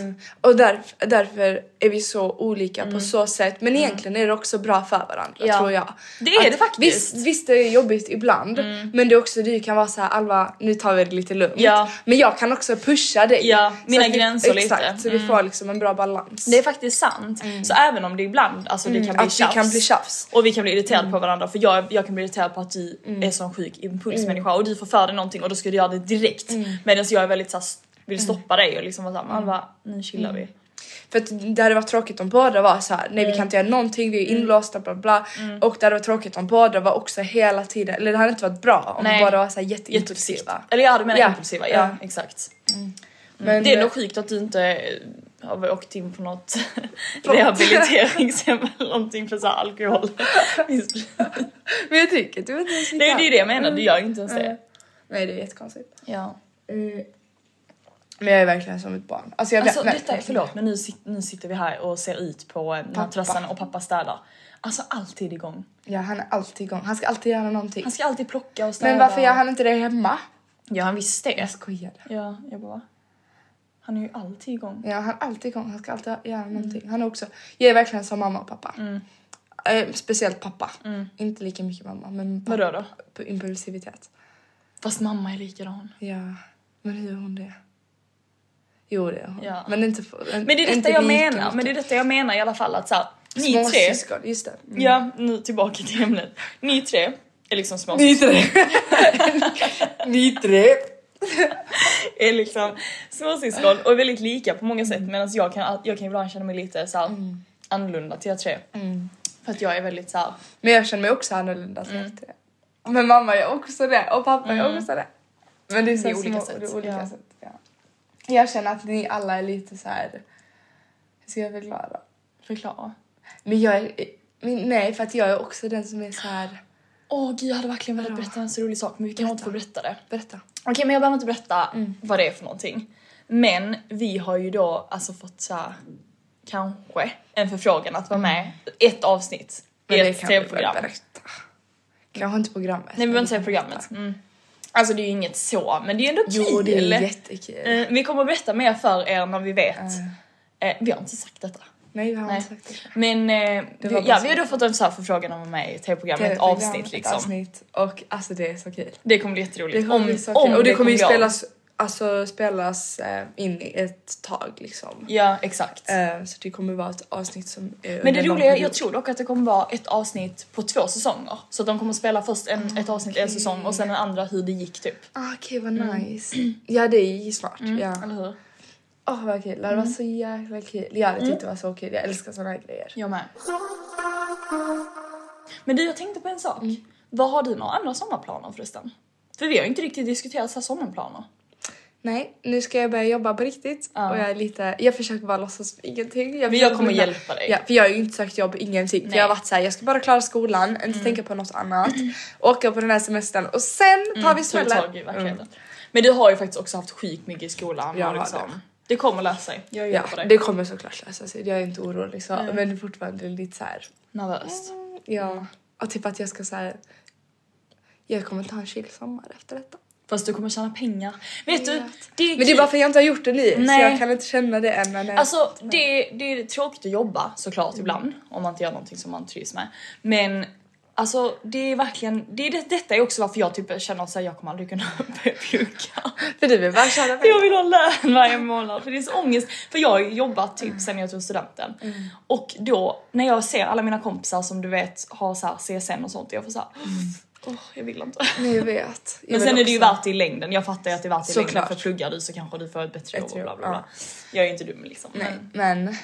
A: Och därför, därför är vi så olika på så sätt. Men egentligen är det också bra för varandra
B: Mm. Ja.
A: tror jag.
B: Det är det faktiskt. Mm.
A: Visst, visst det är jobbigt ibland men det är också du kan vara så här Alva nu tar vi det lite lugnt.
B: Ja.
A: Men jag kan också pusha dig.
B: Ja,
A: Så
B: mina
A: att vi-
B: gränser lite. Mm.
A: Exakt, så vi får liksom en bra balans.
B: Det är faktiskt sant. Så även om det ibland alltså, det kan bli
A: Mm. att vi
B: tjafs.
A: kan bli tjafs. Mm.
B: Och vi kan bli irriterade på varandra för jag, jag kan bli irriterad på att du är sån sjuk
A: Mm.
B: impulsmänniska och du får för dig någonting och då ska du göra det direkt. Medan jag är väldigt så här,
A: Mm.
B: vill stoppa dig och liksom vara såhär, man bara nu chillar vi.
A: För att det hade varit tråkigt om båda var så här, nej
B: Mm.
A: vi kan inte göra någonting, vi är inlåsta bla bla. Och det hade varit tråkigt om båda var också hela tiden, eller det hade inte varit bra om
B: Nej.
A: båda var så här
B: Jätteimpulsiva.
A: jätteimpulsiva.
B: Eller jag hade menat
A: Ja.
B: impulsiva, ja,
A: Ja.
B: exakt.
A: Men
B: Mm. Det är
A: eh,
B: nog sjukt att du inte eh, har åkt in på något rehabiliteringshem eller någonting för såhär
A: (laughs)
B: alkohol.
A: men jag tycker du vet inte
B: Nej det är ju det jag menar, du gör ju inte ens
A: Mm.
B: det.
A: Nej det är jättekonstigt. Eh,
B: Ja.
A: Men jag är verkligen som ett barn. Alltså jag
B: Alltså
A: vet,
B: detta är, förlåt men nu, sit, nu sitter vi här och ser ut på eh, den här
A: Pappa.
B: terrassen och pappa städar. Alltså alltid igång.
A: Ja han är alltid igång, han ska alltid göra någonting.
B: Han ska alltid plocka och städa.
A: Men varför gör han inte det hemma?
B: Gör han visst det?
A: Jag skojar.
B: Ja, jag bara va? Han är ju alltid igång.
A: Ja, han är alltid igång. Han ska alltid göra
B: Mm.
A: någonting. Han är också, jag är verkligen som mamma och pappa. Eh, speciellt pappa. Inte lika mycket mamma, men pappa.
B: Mm. Vadå då?
A: På impulsivitet.
B: Fast mamma är likadan.
A: Ja, men hur är hon det? Jo, det är hon.
B: Ja.
A: Men inte för, en,
B: Men det är detta
A: inte
B: jag
A: lika
B: menar.
A: mycket.
B: Men det är detta jag menar i alla fall att så här, ni
A: Små
B: tre.
A: syskon, just det.
B: Ja, nu tillbaka till ämnet. Ni tre är liksom små
A: Ni tre! (laughs) Ni tre!
B: är liksom småsyskon och är väldigt lika på många sätt medan jag kan, jag kan ibland känna mig lite så här,
A: Mm.
B: annorlunda till er tre. För att jag är väldigt så här,
A: Men jag känner mig också annorlunda till mm. det. Men mamma är också det och pappa är också det. Men det är, så
B: Mm. Det är olika
A: små-
B: sätt,
A: Det är olika
B: ja.
A: sätt ja. Jag känner att ni alla är lite så här. Hur ska jag förklara?
B: förklara.
A: Men jag är... Men nej, för att jag är också den som är så här.
B: Åh gud jag hade verkligen velat berätta en så rolig sak men vi kan inte få berätta det.
A: Berätta.
B: Okej men jag behöver inte berätta
A: Mm.
B: vad det är för någonting. Men vi har ju då alltså fått så här, kanske en förfrågan att vara med ett avsnitt i ett
A: Mm. kan vi väl
B: tv-program.
A: berätta. Kanske inte programmet.
B: Nej vi behöver inte
A: det
B: säga
A: kan vi
B: programmet. Mm. Alltså det är ju inget så men det är ju ändå kul.
A: Jo, det är jättekul.
B: Eh, vi kommer att berätta mer för er när vi vet. Eh, vi har inte sagt detta.
A: Nej, vi har
B: Nej.
A: inte sagt det.
B: Men eh,
A: var
B: vi,
A: bara
B: ja,
A: så.
B: vi har då fått en så här förfrågan om att vara med i tv-programmet, ett
A: Tv-program,
B: avsnitt
A: ett
B: liksom.
A: avsnitt. Och alltså det är så kul.
B: Det kommer bli jätteroligt.
A: Det kommer
B: om,
A: bli så
B: om
A: kul. Och det kommer ju
B: bli av.
A: spelas, alltså, spelas eh, in i ett tag liksom.
B: Ja, exakt.
A: Eh, Så det kommer vara ett avsnitt som är
B: Men det
A: under lång
B: roliga,
A: period.
B: jag tror dock att det kommer vara ett avsnitt på två säsonger. Så att de kommer spela först en, ett
A: Mm.
B: avsnitt en säsong och sen den andra hur det gick typ.
A: Ah, Okej, vad nice. (clears throat) Ja, det är ju smart.
B: Eller
A: Ja. Mm.
B: hur?
A: Åh, vad kul. Det var så jäkla kul. Jag hade tyckt det var så kul. Jag älskar såna här grejer.
B: Jag med. Men du, jag tänkte på en sak.
A: Mm.
B: Vad har du några andra sommarplaner förresten? För vi har ju inte riktigt diskuterat så här sommarplaner.
A: Nej, nu ska jag börja jobba på riktigt. Och jag är lite... Jag försöker bara låtsas ingenting. Jag
B: Men jag
A: försöker
B: kommer
A: bara-
B: hjälpa dig.
A: Ja, för jag har ju inte sökt jobb, ingenting. För
B: Nej.
A: jag har varit såhär, jag ska bara klara skolan, inte tänka på något (clears throat) annat. Åka på den här semestern och sen tar vi
B: Tog
A: smällen.
B: tag i verkligheten. Men du har ju faktiskt också haft sjukt mycket i skolan.
A: Mm. Jag
B: Ja,
A: har
B: liksom.
A: det.
B: det. kommer lösa sig. Jag
A: Ja,
B: hjälper dig.
A: det kommer såklart lösa sig. Jag är inte orolig så. Men det är fortfarande lite så här.
B: Nervöst.
A: Ja. Och typ att jag ska så här. Jag kommer ta en chill sommar efter detta.
B: Fast du kommer tjäna pengar. Vet du? Det är
A: Men det är
B: kul.
A: bara för att jag inte har gjort det nu. Så
B: Nej.
A: jag kan inte känna det än. Men eh, Mm.
B: Alltså det, det är tråkigt att jobba såklart ibland om man inte gör någonting som man trivs med. Men alltså det är verkligen, det är, det- detta är också varför jag typ känner att så här, jag kommer aldrig kunna (laughs) börja plugga.
A: För du vill bara tjäna pengar.
B: Jag vill ha lön varje månad för det är så ångest. För jag har ju jobbat
A: Mm.
B: typ sen jag tog studenten. Och då när jag ser alla mina kompisar som du vet har så här CSN och sånt, jag får såhär, åh jag vill inte.
A: Nej, Mm. (laughs) jag vet. Jag
B: Men
A: vill
B: sen är det ju
A: också-
B: värt det i längden, jag fattar ju att det är värt det i längden
A: Såklart.
B: för pluggar du så kanske du får ett bättre jobb och
A: Bättre
B: bla bla
A: jobb,
B: bla. Jag är ju inte dum liksom.
A: Nej, men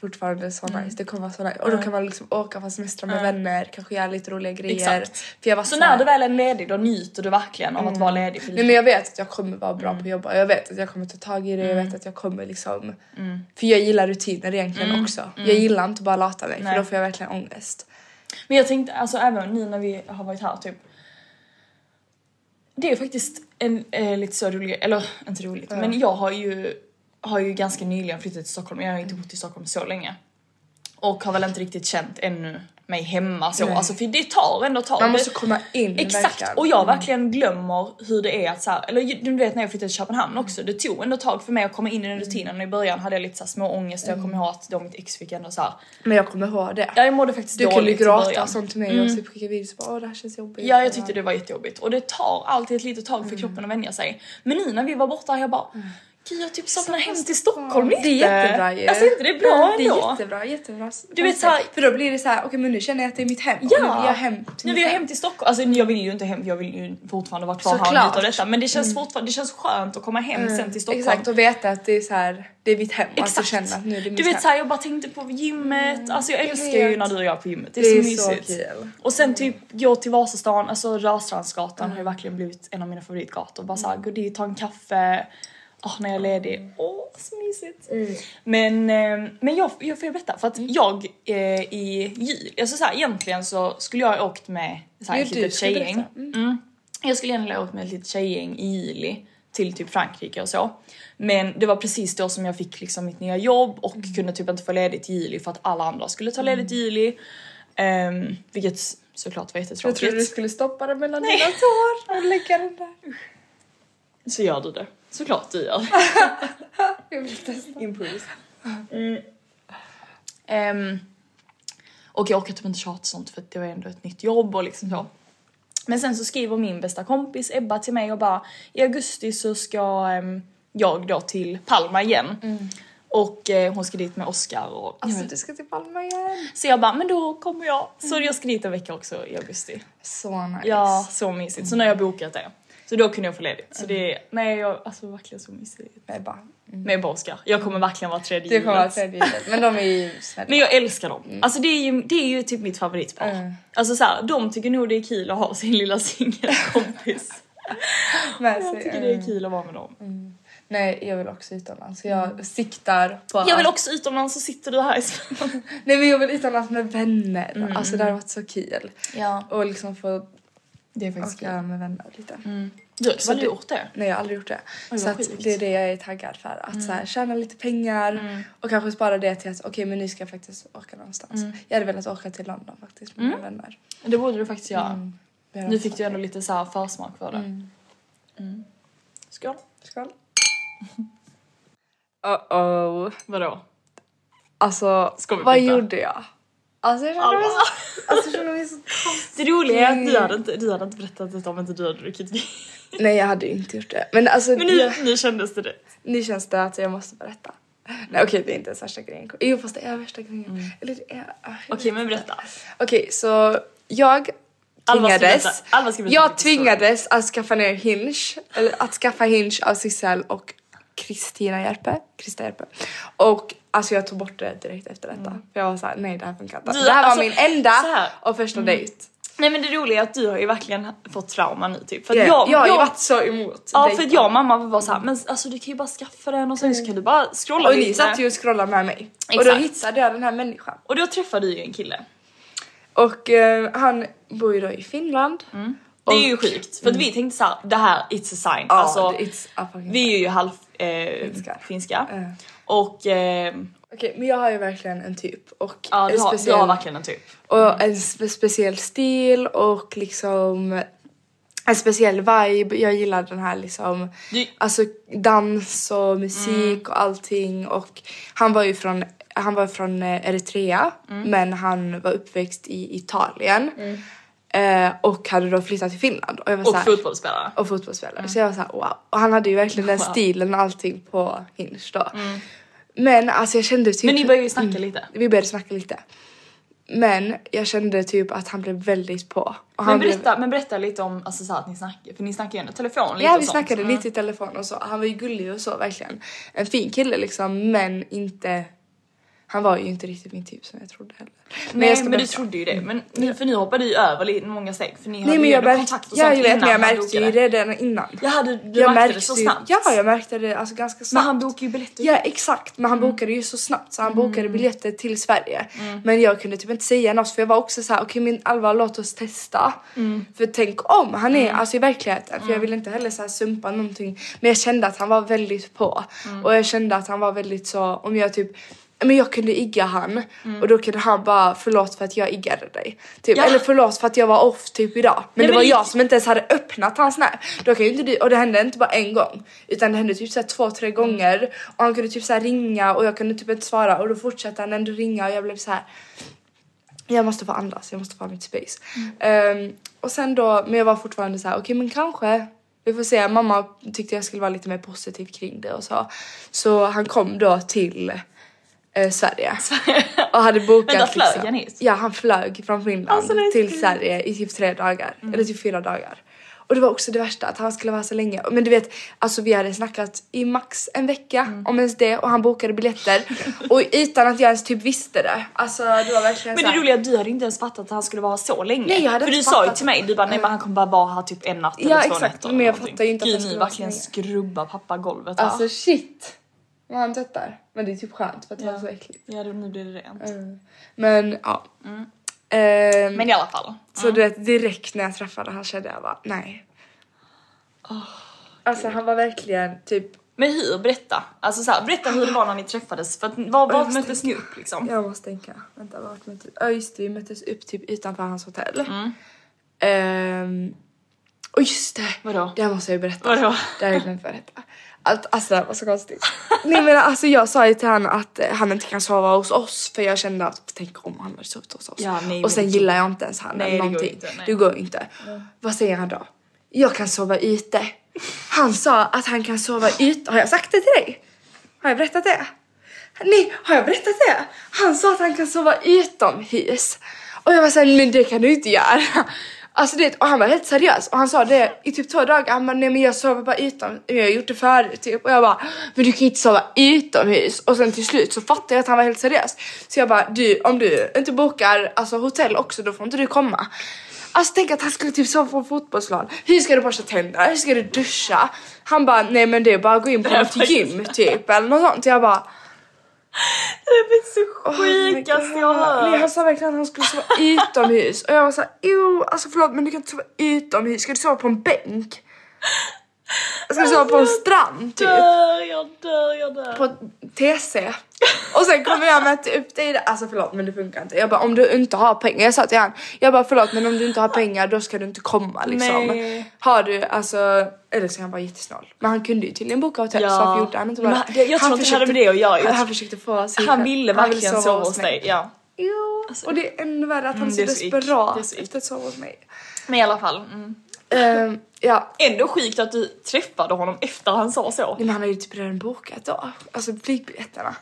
A: fortfarande så
B: Mm.
A: nice. Det kommer vara så nice. Och då kan man liksom åka på semester med vänner, kanske göra lite roliga grejer.
B: Exakt.
A: För jag var
B: Så
A: så här-
B: Alltså när du väl är ledig då njuter du verkligen av att vara ledig för
A: Alltså- Mm. Nej men jag vet att jag kommer vara bra
B: Mm.
A: på att jobba. Jag vet att jag kommer ta tag i det. Jag vet att jag kommer liksom...
B: Mm.
A: För jag gillar rutiner egentligen också. Jag gillar inte att bara lata mig för
B: Nej.
A: då får jag verkligen ångest.
B: Men jag tänkte alltså även nu när vi har varit här typ. Det är faktiskt en eh, lite så rolig, eller inte roligt, men jag har ju, har ju ganska nyligen flyttat till Stockholm. Jag har inte bott i Stockholm så länge. Och har väl inte riktigt känt ännu mig hemma så. Alltså för det tar ändå tag.
A: Man måste
B: Det-
A: komma in
B: Exakt!
A: verkligen.
B: Och jag verkligen glömmer hur det är att så här, eller ju- du vet när jag flyttade till Köpenhamn också, det tog ändå tag för mig att komma in
A: Mm.
B: i den rutinen och i början hade jag lite så här små ångest och jag kommer ihåg att då mitt ex fick ändå så här,
A: Men jag kommer ihåg det.
B: jag mådde faktiskt
A: du kunde
B: dåligt
A: ju
B: i
A: gråta
B: början.
A: och sånt till mig och typ skicka videos och bara åh det här känns jobbigt.
B: Mm. Ja jag tyckte det var jättejobbigt och det tar alltid ett litet tag för
A: Mm.
B: kroppen att vänja sig. Men nu när vi var borta jag bara Gud jag typ saknar hem till Stockholm lite.
A: Det är jättebra ju.
B: Alltså inte det är bra
A: Det är
B: ändå.
A: jättebra, jättebra. Alltså,
B: Du vet såhär-
A: För då blir det så här, okej men nu känner jag att det är mitt hem. Och nu vill jag hem till
B: nu
A: mitt
B: vill jag
A: hem.
B: hem till Stockholm. Alltså jag vill ju inte hem, jag vill ju fortfarande vara kvar här och
A: Såklart. Mm.
B: njuta av detta. Men det känns fortfarande, det känns skönt att komma hem sen till Stockholm.
A: Exakt och veta att det är så här, det är mitt hem. och Att du känner Alltså, att nu är det mitt
B: Du vet
A: hem.
B: såhär jag bara tänkte på gymmet, alltså jag älskar
A: vet.
B: ju när du och jag är på gymmet. Det är,
A: Det är
B: så
A: så
B: mysigt.
A: kul. Mm.
B: och sen typ gå till Vasastan, alltså Rörstrandsgatan har ju verkligen blivit en av mina favoritgator. Bara
A: Mm.
B: såhär gå dit, ta en kaffe. Åh, när jag är ledig. Åh, så mysigt.
A: Mm.
B: Men, eh, men jag, jag får ju berätta, för att jag eh, i jul, alltså såhär egentligen så skulle jag ha åkt med såhär,
A: Jo,
B: ett
A: du
B: litet
A: ska berätta.
B: tjejgäng. Jag skulle egentligen ha åkt med ett litet tjejgäng i juli till typ Frankrike och så. Men det var precis då som jag fick liksom mitt nya jobb och
A: Mm.
B: kunde typ inte få ledigt i juli för att alla andra skulle ta ledigt i juli. Ehm, vilket s- såklart var
A: Jag
B: jättetråkigt.
A: trodde du skulle stoppa det mellan
B: Nej.
A: (laughs) dina
B: (laughs)
A: tår och lägga den där.
B: Så gör du det. Såklart du gör.
A: Jag vill testa.
B: Improvis. Ehm, och jag orkar typ inte tjata sånt för att det var ändå ett nytt jobb och liksom så. Men sen så skriver min bästa kompis Ebba till mig och bara i augusti så ska ehm, jag då till Palma igen.
A: Mm.
B: Och eh, hon ska dit med Oscar och alltså,
A: Alltså du ska till Palma igen.
B: Så jag bara, men då kommer jag. Så jag ska dit en vecka också i augusti.
A: Så Mm. nice.
B: Ja, så mysigt. Så när jag bokat det. Så då kunde jag få ledigt.
A: Mm.
B: Så det är, nej jag, alltså verkligen så mysigt.
A: Nej, bara. mm,
B: Med Oscar. Jag kommer verkligen vara tredje
A: Du kommer vara
B: givet.
A: tredje Men de är ju snälla.
B: Men jag älskar dem. Alltså det är ju, det är ju typ mitt favoritpar. Alltså så här, de tycker nog det är kul att ha sin lilla (laughs) singelkompis.
A: med
B: jag
A: sig.
B: tycker det är kul att vara med dem.
A: Nej, jag vill också utomlands. Så jag siktar på
B: Mm. Jag vill
A: att-
B: också utomlands så sitter du här i Sverige.
A: Nej men jag vill utomlands med vänner. Alltså det har varit så kul.
B: Mm. Ja.
A: Och liksom få
B: Det är
A: åka med vänner lite.
B: (laughs) Du har också aldrig gjort det.
A: Nej jag har aldrig gjort det. så att
B: sjukt. Mm.
A: det är det jag är taggad för. Att så här, tjäna lite pengar och kanske spara det till att okej men nu ska jag faktiskt åka någonstans.
B: Mm.
A: Jag hade velat åka till London faktiskt med mina vänner.
B: Det borde du faktiskt göra.
A: Vi har
B: Mm. Nu
A: haft-
B: fick du ändå lite så här försmak för det. Mm. Skål. (laughs)
A: Skål. Uh oh.
B: Vadå?
A: Alltså
B: Ska vi
A: vad
B: byta?
A: gjorde jag? Alltså jag kände mig så... (laughs)
B: (laughs)
A: Alltså jag kände mig så
B: Det roliga är att du hade inte, du hade inte berättat detta om inte du hade druckit (laughs) vin.
A: Nej jag hade ju inte gjort det. Men alltså
B: Men nu,
A: jag-
B: nu kändes det rätt.
A: Nu känns det att jag måste berätta. Nej okej det är inte ens värsta grejen. Jo fast det är värsta grejen. Eller det är... ah, jag
B: Mm. Okej
A: vet
B: men
A: inte.
B: (laughs) berätta.
A: Okej så jag
B: Alva ska
A: tvingades.
B: berätta. Alva ska berätta
A: jag
B: vilken story.
A: tvingades att skaffa ner Hinge. Eller att skaffa Hinge av Sissel och Kristina Järpe. Krista Järpe. Och alltså jag tog bort det direkt efter detta. För jag var såhär nej det här funkar inte.
B: Du,
A: det här
B: Mm. alltså,
A: var min enda
B: så här. Mm.
A: och första dejt.
B: Nej men det roliga är att du har ju verkligen fått trauma nu typ. För
A: Jag,
B: att jag,
A: har ju
B: jag-
A: varit så emot
B: Ja för
A: dejter.
B: att jag och mamma var såhär, men alltså du kan ju bara skaffa den och sen så kan du bara scrolla
A: Och Mm. ni
B: lite."
A: satt ju och scrollade med mig. Och
B: Exakt.
A: då hittade jag den här människan.
B: Och då träffade du ju en kille.
A: Och eh, han bor ju då i Finland.
B: Det
A: Och- Mm.
B: är ju sjukt. För att vi tänkte såhär, det här it's a sign.
A: Ja,
B: alltså,
A: it's a fucking
B: vi är ju halv eh, finska.
A: Finska. Eh.
B: Och eh,
A: Okej, men jag har ju verkligen en typ och
B: ja, du,
A: en
B: har,
A: speciell
B: du har verkligen en typ.
A: och en spe- speciell stil och liksom en speciell vibe. Jag gillar den här liksom
B: Du- Mm.
A: alltså dans och musik och allting och han var ju från han var från eh, Eritrea
B: Mm.
A: men han var uppväxt i Italien. Eh, och hade då flyttat till Finland. Och, jag var
B: Och Mm.
A: så här-
B: fotbollsspelare.
A: och fotbollsspelare. Så jag var såhär wow. Och han hade ju verkligen den stilen och allting på Hinge då. Men alltså jag kände typ...
B: Mm. Men ni började ju snacka lite.
A: Vi började snacka lite. Men jag kände typ att han blev väldigt på. Och han
B: Men berätta, men berätta lite om alltså, så här, att ni snackar, för ni snackar ju ändå telefon lite
A: Blev, ja
B: och
A: vi
B: sånt.
A: snackade lite i telefon och så. Han var ju gullig och så verkligen. En fin kille liksom men inte... Han var ju inte riktigt min typ som jag trodde heller. Men
B: Nej
A: jag ska
B: men du
A: berätta.
B: trodde ju det. Men, men, för ni hoppade ju över lite många steg för ni hade
A: Nej men
B: ju
A: jag
B: ändå
A: märkte...
B: kontakt och
A: Ja,
B: sånt
A: jag vet men jag
B: innan han
A: märkte ju
B: bokade.
A: det redan innan.
B: Jag hade, du
A: jag
B: märkte, det så
A: ju-
B: snabbt.
A: Ja, jag märkte det alltså ganska snabbt.
B: han bokade ju biljetter. Mm.
A: Ja, exakt. Men han bokade ju så snabbt så han bokade biljetter till Sverige. Men jag kunde typ inte säga något för jag var också så här: okej men Alva låt oss testa.
B: Mm.
A: För tänk om han är alltså i verkligheten. För jag ville inte heller så här sumpa någonting. Men jag kände att han var väldigt på.
B: Mm.
A: Och jag kände att han var väldigt så, om jag typ men jag kunde igga han och då kunde han bara förlåt för att jag iggade dig. Typ.
B: Mm. Ja.
A: Eller förlåt för att jag var off typ idag. Men
B: Nej,
A: det
B: men
A: var
B: det-
A: jag som inte ens hade öppnat hans näv. Då kan ju inte du, och det hände inte bara en gång utan det hände typ så här två, tre gånger och han kunde typ så här ringa och jag kunde typ inte svara och då fortsatte han ändå ringa och jag blev så här. Jag måste få andas, jag måste få ha mitt space.
B: Mm.
A: Ehm, och sen då, men jag var fortfarande så här okej men kanske vi får se. Mamma tyckte jag skulle vara lite mer positiv kring det och så. Så han kom då till eh, Sverige. Och hade
B: (laughs)
A: bokat liksom.
B: Vänta, flög han hit?
A: Ja, han flög från Finland
B: Alltså, det är så kul. Mm.
A: till Sverige i typ tre dagar. Eller typ fyra dagar. Och det var också det värsta, att han skulle vara så länge. Men du vet, alltså vi hade snackat i max en vecka,
B: Mm.
A: om ens det. Och han bokade
B: (laughs)
A: biljetter. och utan att jag ens typ visste det. Alltså det var verkligen
B: Men
A: så
B: det
A: här-
B: roliga är att du hade inte ens fattat att han skulle vara så länge.
A: Nej, jag hade
B: För
A: inte
B: du sa ju
A: fattat.
B: till mig, du bara nej men han kommer bara vara här typ en natt
A: Ja,
B: eller två
A: exakt,
B: nätter.
A: men
B: eller
A: jag
B: någonting.
A: fattar ju inte att
B: Gud,
A: han
B: ni
A: skulle vara så
B: verkligen
A: länge.
B: skrubbar pappa golvet här.
A: Alltså shit. Vad han tvättar. Men det är typ skönt för att det var så äckligt.
B: Ja, det- nu blir det rent.
A: Mm. Men ja. Ehm,
B: Mm. Men Mm. i alla fall.
A: Så du vet direkt när jag träffade han kände jag bara nej. alltså han var verkligen typ
B: Men hur? Berätta. Alltså så här, berätta hur det var när ni träffades. För att, var,
A: Jag
B: var
A: måste
B: möttes ni upp liksom?
A: Jag måste tänka. Vänta, vart
B: Mm.
A: möttes... Ja just det, vi möttes upp typ utanför hans hotell. Ehm, Och just det!
B: Vadå?
A: Det här måste jag ju berätta.
B: Vadå?
A: Det här har jag glömt berätta. Att, alltså det här var så konstigt. Nej men alltså jag sa ju till honom att eh, han inte kan sova hos oss för jag kände att tänk om han hade sovit hos oss.
B: Ja, nej,
A: och sen
B: men-
A: gillar jag inte ens han
B: Nej,
A: eller
B: det går
A: någonting.
B: inte, nej.
A: det går ju inte. Vad säger han då? Jag kan sova ute. Han sa att han kan sova ute. Har jag sagt det till dig? Har jag berättat det? Nej, har jag berättat det? Han sa att han kan sova utomhus. Och jag var såhär, nej det kan du inte göra. Alltså det, och han var helt seriös och han sa det i typ två dagar. Han bara, nej men jag sover bara utomhus. Jag har gjort det förut typ. Och jag bara, men du kan ju inte sova utomhus. Och sen till slut så fattade jag att han var helt seriös. Så jag bara, du om du inte bokar alltså, hotell också då får inte du komma. Alltså tänk att han skulle typ sova på en fotbollsplan. Hur ska du borsta tänderna? Hur ska du duscha? Han bara, nej men det är bara att gå in på något gym typ eller något sånt. Jag bara,
B: så sjukaste jag
A: hört. Nej,
B: hört.
A: han sa verkligen att han skulle sova utomhus och jag var såhär jo, alltså förlåt men du kan inte sova utomhus, ska du sova på en bänk? Ska du sova på en strand typ?
B: Dör, jag dör, jag dör.
A: På ett TC. Och sen kommer jag möta upp dig där. Alltså förlåt men det funkar inte. Jag bara om du inte har pengar. Jag sa till han. Jag bara förlåt men om du inte har pengar då ska du inte komma liksom.
B: Nej.
A: Har du alltså. Eller så är han bara jättesnål. Men han kunde ju tydligen boka hotell
B: Ja.
A: så varför gjorde han inte bara
B: Men han- jag tror inte det hade med det att göra.
A: Han, typ- han försökte få sig
B: Han ville verkligen sova hos
A: mig.
B: dig. Ja.
A: Ja, och det är ännu värre att han
B: Mm,
A: är så
B: det är så ick. Det är
A: desperat
B: så ick.
A: efter att sova hos mig.
B: Men i alla fall. Mm.
A: Ehm, ja,
B: Ändå sjukt att du träffade honom efter han sa så.
A: Nej, men han har ju typ redan bokat då, alltså flygbiljetterna.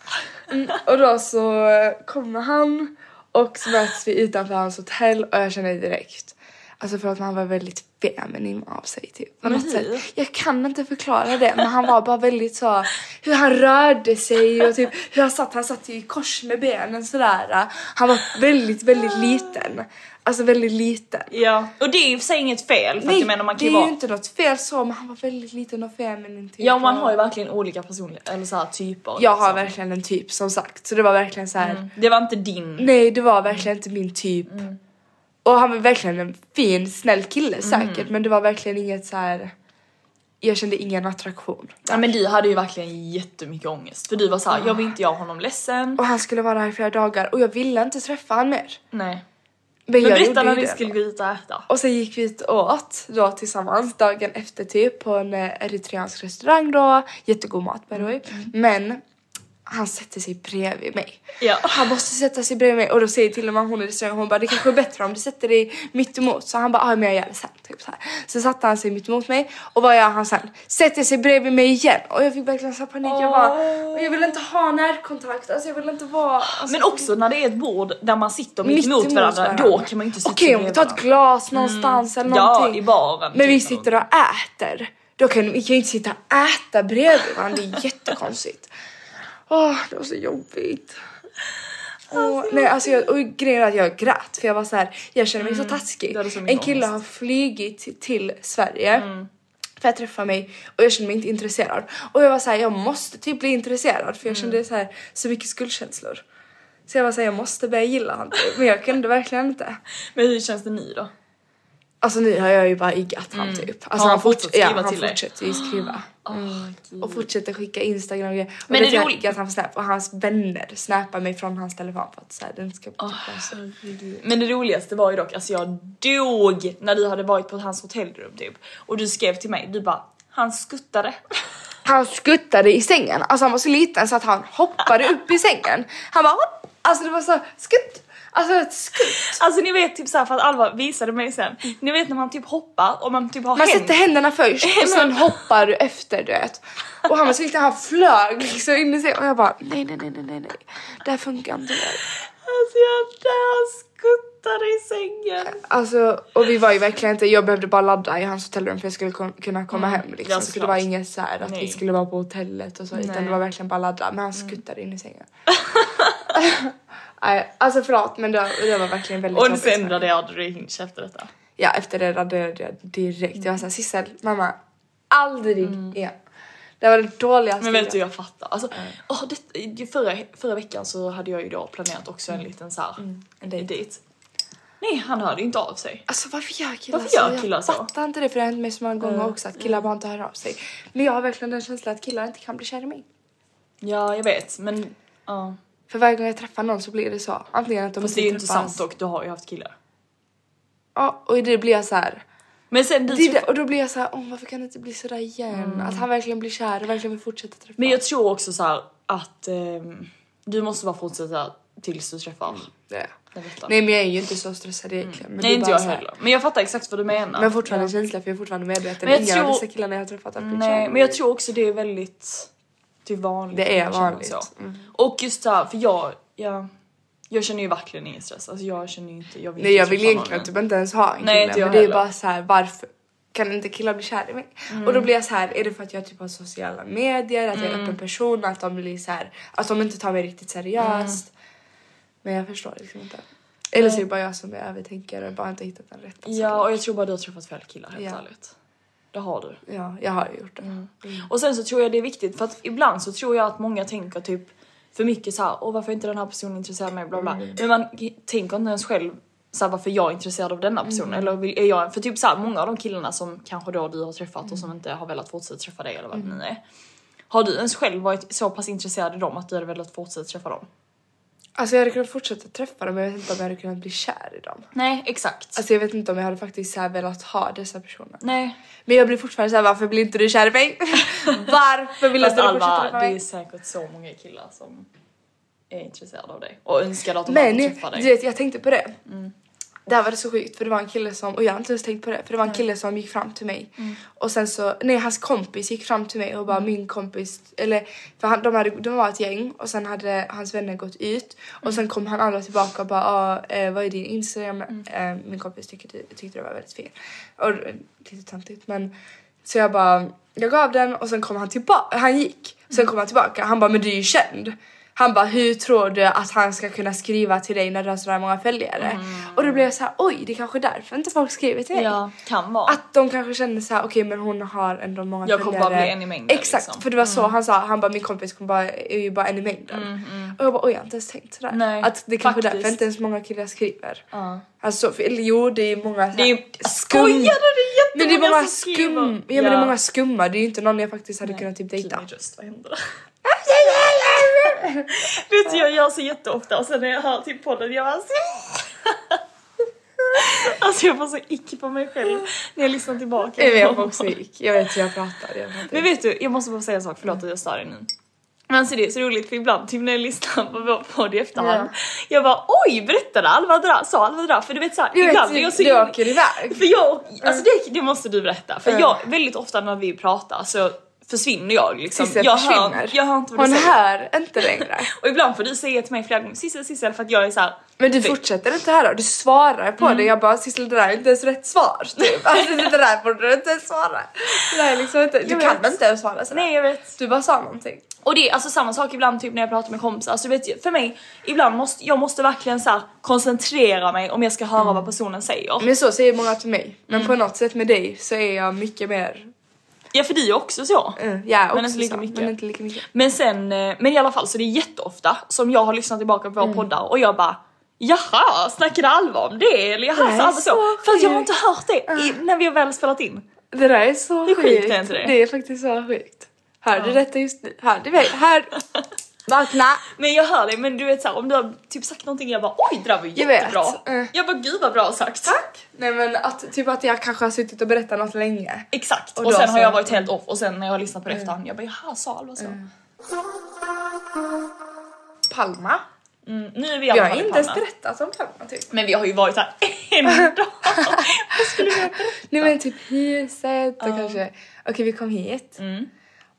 A: Mm, och då så kommer han och så möts vi utanför hans hotell och jag känner direkt. Alltså för att han var väldigt feminin av sig typ. På något sätt. Jag kan inte förklara det men han var bara väldigt så hur han rörde sig och typ hur han satt, han satt ju i kors med benen sådär. Han var väldigt, väldigt liten. Alltså väldigt liten.
B: Ja. Och det är i och för sig inget fel för att jag menar man kan
A: det
B: ju
A: är
B: vara...
A: ju inte något fel så, men han var väldigt liten och feminin. Typ.
B: Ja och man har ju verkligen olika personligheter eller så här typer.
A: Jag har
B: liksom. Mm.
A: verkligen en typ som sagt, så det var verkligen så här.
B: Det var inte din.
A: nej det var verkligen inte min typ.
B: Mm.
A: Och han var verkligen en fin, snäll kille säkert, men det var verkligen inget så här. jag kände ingen attraktion.
B: Ja, men du hade ju verkligen jättemycket ångest för du var så här, jag vill inte göra honom ledsen.
A: Och han skulle vara här i flera dagar och jag ville inte träffa han mer.
B: Nej.
A: Men, jag
B: Men berätta
A: gjorde ju
B: när vi
A: det.
B: skulle gå ut och äta.
A: Och sen gick vi ut och åt då tillsammans dagen efter typ på en eh, eritreansk restaurang då. Jättegod mat by the way.
B: Mm,
A: Men han sätter sig bredvid mig.
B: Ja.
A: Han måste sätta sig bredvid mig och då säger till och med hon i restaurangen hon bara det kanske är bättre om du sätter dig mitt emot. Så han bara ah, men jag gör det sen. Typ så, här. så satte han sig mitt emot mig och vad gör han sen? Sätter sig bredvid mig igen och jag fick verkligen så här panik. Jag bara och jag vill inte ha närkontakt. Alltså jag vill inte vara. Alltså,
B: Men också när det är ett bord där man sitter mitt emot varandra, då kan man ju inte sitta
A: Okej om vi
B: bredvid
A: tar ett
B: varandra. Mm.
A: glas någonstans eller
B: Ja,
A: någonting.
B: i baren
A: Men vi
B: typ.
A: sitter och äter. Då kan vi kan ju inte sitta och äta bredvid varandra. Det är jättekonstigt. Åh, det var så jobbigt. Åh, nej, alltså jag, och grejen är att jag grät för jag var så här. jag känner mig så taskig.
B: det Mm, hade så mycket Mm.
A: en kille har flygit till Sverige för att träffa mig och jag kände mig inte intresserad. Och jag var så här, jag måste typ bli intresserad
B: Mm.
A: för jag kände så här så mycket skuldkänslor. Så jag var så här, jag måste börja gilla honom typ. men jag kunde verkligen inte.
B: Men hur känns det nu då?
A: Alltså nu har jag ju bara iggat han typ. Alltså
B: Mm. Har
A: han,
B: han fortsatt
A: forts- ja,
B: skriva
A: han
B: till dig? Ah,
A: fortsätter ju skriva. Mm. och fortsätter skicka instagram och grejer. Och
B: Men
A: Men
B: är
A: det
B: det
A: jag har
B: roligt?
A: iggat han på snap och hans vänner snappar mig från hans telefon för att såhär den ska... Oh,
B: Men det roligaste var ju dock, alltså jag dog när du hade varit på hans hotellrum typ. Och du skrev till mig, du bara han skuttade. (laughs)
A: han skuttade i sängen. Alltså han var så liten så att han hoppade upp i sängen. Han bara hopp! Alltså det var så skutt! Alltså ett skutt!
B: Alltså ni vet typ såhär för att Alva visade mig sen. Ni vet när man typ hoppar och man typ har
A: Man
B: hänt.
A: sätter händerna först och sen hoppar du efter du vet. Och han var så liten, han flög liksom in i sängen och jag bara nej nej nej nej nej nej. Det här funkar inte.
B: Alltså jag dör, skuttade i sängen.
A: Alltså, och vi var ju verkligen inte, jag behövde bara ladda i hans hotellrum för jag skulle kom, kunna komma hem liksom.
B: Mm, ja,
A: så det
B: såklart.
A: var inget så här att vi
B: Nej. Mm.
A: skulle vara på hotellet och så utan det var verkligen bara ladda. Men han skuttade in i sängen. (laughs) Nej, alltså förlåt men det, det var verkligen väldigt
B: Och
A: jobbigt.
B: sen raderade du Hinch efter detta.
A: Ja efter det raderade jag direkt. Jag var
B: Mm.
A: såhär Sissel, mamma, aldrig igen. Det var det dåligaste
B: Men vet du jag fattar. Alltså, åh, det, i- förra, förra veckan så hade jag ju då planerat också
A: Mm.
B: en liten såhär en dejt. Nej han hörde inte av sig.
A: Alltså varför gör killar
B: Varför gör
A: så?
B: killar
A: jag
B: så? Mm,
A: fattar inte det för det har hänt mig så många gånger också att killar bara inte hör av sig. Men jag har verkligen den känslan att killar inte kan bli kär i mig.
B: Ja jag vet men ja.
A: För varje gång jag träffar någon så blir det så. Antingen att de
B: Fast det är ju inte
A: träffas.
B: sant dock, du har ju haft killar.
A: Ja, och det blir jag så här.
B: Men sen dit
A: Det är
B: vi
A: det, och då blir jag så här, åh varför kan det inte bli sådär igen? Att han verkligen blir kär och verkligen vill fortsätta träffas.
B: Mm. Men jag tror också så här att ehm, du måste bara fortsätta tills du träffar.
A: Nej.
B: Jag vet inte.
A: Mm. Nej men jag är ju inte så stressad egentligen. Men det
B: Nej
A: är
B: inte
A: bara
B: jag
A: så här-
B: heller. Men jag fattar exakt vad du menar.
A: Men fortfarande en känsla för jag är fortfarande medveten.
B: Men jag
A: Inga av
B: tror-
A: dessa killarna jag har träffat har blivit
B: Nej
A: kär.
B: men jag tror också det är väldigt typ vanligt.
A: Det är
B: att man känner
A: vanligt. Mm.
B: Så. Och just så här, för jag, jag, jag känner ju verkligen ingen stress. Alltså jag känner ju inte, jag vill
A: Nej
B: inte
A: jag vill
B: träffa
A: egentligen
B: någon.
A: typ inte ens ha en kille.
B: Nej, inte jag
A: men det är ju
B: heller.
A: bara så här varför kan inte killar bli kär i mig? Och
B: Mm.
A: då blir jag så här, är det för att jag typ har sociala medier, att jag är en öppen person, att de blir så här, att de inte tar mig riktigt seriöst.
B: Mm.
A: Men jag förstår liksom inte. Eller så är det bara jag som är övertänkare och bara inte hittat den rätta.
B: Ja och jag tror bara du har träffat fel killar helt
A: Ja.
B: ärligt. Det har du.
A: ja, jag har ju gjort det.
B: Mm. Och sen så tror jag det är viktigt för att ibland så tror jag att många tänker typ för mycket så här, åh varför är inte den här personen intresserad av mig bla bla. Men man k- tänker inte ens själv så här, varför jag är intresserad av denna personen eller vill, är jag för typ så här, många av de killarna som kanske då du har träffat och som inte har velat fortsätta träffa dig eller vad det nu är. Har du ens själv varit så pass intresserad i dem att du hade velat fortsätta träffa dem?
A: Alltså jag hade kunnat fortsätta träffa dem men jag vet inte om jag hade kunnat bli kär i dem.
B: Nej exakt.
A: Alltså jag vet inte om jag hade faktiskt så här velat ha dessa personer.
B: Nej.
A: Men jag blir fortfarande såhär varför blir inte du kär i
B: (laughs)
A: mig? varför vill
B: Fast
A: inte du fortsätta
B: Alva
A: träffa
B: det är
A: mig?
B: säkert så många killar som är intresserade av dig och önskar att de
A: Men
B: hade träffat dig. Mm.
A: du vet jag tänkte på det. Det här var det så sjukt för det var en kille som, och jag har inte ens tänkt på det, för det var en kille som gick fram till mig.
B: Mm.
A: Och sen så, nej hans kompis gick fram till mig och bara min kompis, eller för han, de, hade, de var ett gäng och sen hade hans vänner gått ut.
B: Mm.
A: Och sen kom han andra tillbaka och bara ah, eh, vad är din Instagram?
B: Mm.
A: Eh, min kompis tyckte, tyckte det var väldigt fel. Och eh, lite töntigt men så jag bara, jag gav den och sen kom han tillbaka, han gick.
B: Mm.
A: Sen kom han tillbaka, han bara men du är ju känd. Han bara hur tror du att han ska kunna skriva till dig när du har sådär många följare?
B: Mm.
A: Och då blev jag så här: oj det är kanske är därför inte folk skriver till mig.
B: Ja, kan vara.
A: Att de kanske känner så här: okej men hon har ändå många
B: Jag
A: följare.
B: kommer bara bli en i mängden,
A: Exakt
B: liksom.
A: för det var så han sa, han bara min kompis kommer bara, är ju bara en i mängden. Och jag bara oj jag har inte ens tänkt sådär.
B: Mm, Nej,
A: att det kanske är därför
B: faktiskt.
A: inte ens många killar skriver.
B: Ja.
A: Alltså för, eller, jo det är många så här
B: Det är- Skojar du? Det
A: men
B: är
A: det är
B: jättemånga
A: många
B: som skriver.
A: skum, ja, men det är
B: Ja.
A: många skumma, det är ju inte någon jag faktiskt hade kunnat typ dejta.
B: Just,
A: (laughs)
B: vad händer då? Vet du, jag gör så jätteofta och sen när jag hör till podden jag bara
A: (laughs)
B: Alltså jag får så ick på mig själv när jag lyssnar tillbaka.
A: Jag vet också gick. Jag vet hur jag pratar. Jag pratar.
B: Men vet du, jag måste bara säga en sak, förlåt att jag stör dig nu. Men alltså det är så roligt för ibland typ när jag lyssnar på vår podd i efterhand. Jag bara oj berättade Alva Dra, sa Alva Dra, för du vet såhär
A: du
B: ibland är jag
A: vet,
B: så
A: du
B: in-
A: åker iväg. Mm.
B: För jag, alltså det, det måste du berätta. För jag, väldigt ofta när vi pratar så försvinner jag liksom.
A: Sissel
B: jag,
A: försvinner.
B: hör, jag hör inte vad
A: Hon
B: du säger.
A: hör inte längre.
B: Och ibland får du säga till mig flera gånger Sissel, Sissel för att jag är såhär.
A: (laughs) Men du fortsätter inte höra och du svarar på det. Jag bara Sissel det där är inte ens rätt svar. Typ. Alltså det där borde du inte ens svara. Det där är liksom inte, du
B: Jag
A: kan
B: vet.
A: inte ens svara sådär.
B: Nej jag vet.
A: Du bara sa någonting.
B: Och det är alltså samma sak ibland typ när jag pratar med kompisar. Alltså vet du, för mig, ibland måste jag måste verkligen så här, koncentrera mig om jag ska
A: Mm.
B: höra vad personen säger.
A: Men så säger många till mig. Men på något sätt med dig så är jag mycket mer,
B: Ja för det är ju också så.
A: mm, jag är också
B: Men inte lika
A: så,
B: mycket.
A: men inte lika mycket.
B: Men sen, eh, men i alla fall så det är jätteofta som jag har lyssnat tillbaka på våra
A: Mm.
B: poddar och jag bara Jaha, snackade Alva om det? Eller jaha,
A: Nej,
B: så, Alva
A: så
B: så. För att jag
A: sjukt.
B: har
A: Mm.
B: inte hört det i, när vi har väl spelat in.
A: Det där är så
B: Hur sjukt är inte det?
A: Det är faktiskt så sjukt. Hör du detta just nu? Hör du mig? Hör! (laughs) Vakna!
B: Men jag hör dig, men du vet såhär om du har typ sagt någonting jag bara oj det där var
A: Jag vet.
B: jättebra.
A: Mm.
B: Jag bara gud vad bra sagt. Tack.
A: Nej men att, typ att jag kanske har suttit och berättat något länge.
B: Exakt.
A: Och
B: Och,
A: då
B: sen
A: så- Mm.
B: har jag varit helt off och sen när jag har lyssnat på det efterhand jag bara jaha sa Alva så. Mm.
A: Palma?
B: Mm, Nu är vi i
A: Jag
B: alla
A: har
B: fall i
A: inte ens
B: Palma.
A: berättat om Palma typ.
B: Men vi har ju varit här (laughs) en dag. Vad skulle vi ha
A: Nej men typ huset och kanske... Okej vi kom hit.
B: Mm.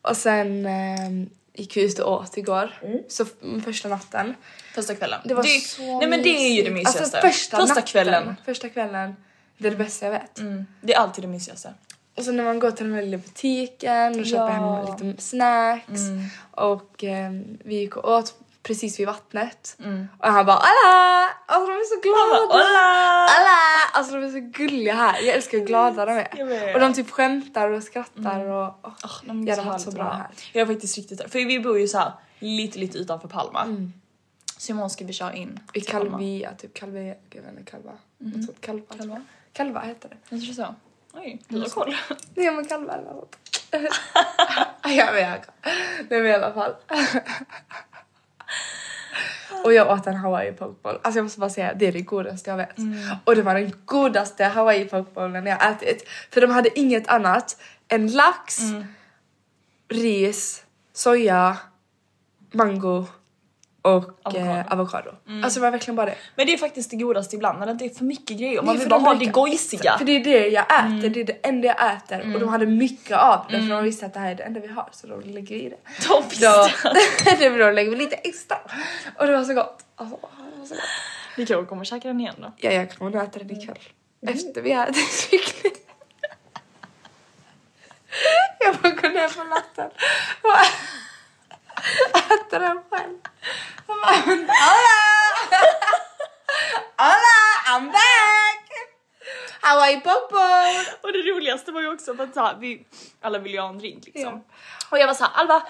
A: Och sen ehm, gick vi ut och åt igår. Så f- mm, första natten.
B: Första kvällen.
A: Det var
B: är-
A: så
B: Nej men Mm. det är ju det
A: mysigt.
B: mysigaste.
A: Alltså första, natten,
B: kvällen. Mm.
A: Första kvällen. Det är det bästa jag vet.
B: Det är alltid det mysigaste.
A: Och sen när man går till den här lilla butiken och köper hem lite snacks.
B: Mm.
A: Och eh, vi gick och åt precis vid vattnet. Och han bara alla! Alltså de är så glada!
B: Mm. Hola!
A: alla! Alltså de är så gulliga här. Jag älskar hur glada de
B: Jag
A: är.
B: vet. Mm.
A: Och de typ skämtar och skrattar och åh,
B: Åh, de är
A: jag
B: så
A: hade haft så
B: härligt
A: bra
B: att vara
A: här.
B: Jag är faktiskt riktigt För vi bor ju så här lite lite utanför Palma. Så imorgon ska vi köra in.
A: Mm. I
B: till Palma.
A: Calvia, typ Calvia, jag vet inte, Calva.
B: Mm.
A: Något sånt, Calva. tror jag.
B: Calva?
A: Calva heter det.
B: Jag tror så. Oj, du har koll.
A: Nej men Calva eller något. ja men jag Nej men i alla fall. (laughs) Och jag åt en hawaii pokeball. Alltså jag måste bara säga, det är det godaste jag vet. Och det var den godaste hawaii pokeballen jag ätit. För de hade inget annat än lax, ris, soja, mango och avokado. Eh, avokado. Alltså det var verkligen bara det.
B: Men det är faktiskt det godaste ibland när det inte är för mycket grejer och man
A: Nej,
B: vill
A: för
B: bara
A: de
B: ha det
A: brukar-
B: gojsiga. Mm.
A: För det är det jag äter, det är det enda jag äter. Och de hade mycket av det för de visste att det här är det enda vi har så de lägger i det.
B: (laughs) De visste
A: Då, (laughs)
B: att-
A: det blir då lägger vi lite extra. Och det var så gott. Alltså, det var så gott.
B: Vi kanske kommer och käka den igen då.
A: Ja, jag kommer nog äta den ikväll.
B: Mm.
A: Efter vi har ätit (laughs) kyckling. Jag får gå ner på natten och äta den själv. Jag bara, men Hola! Hola! I'm back! How are you Popo?
B: Och det roligaste var ju också för att så här, vi alla ville ju ha en drink liksom. Och jag var så här, Alva,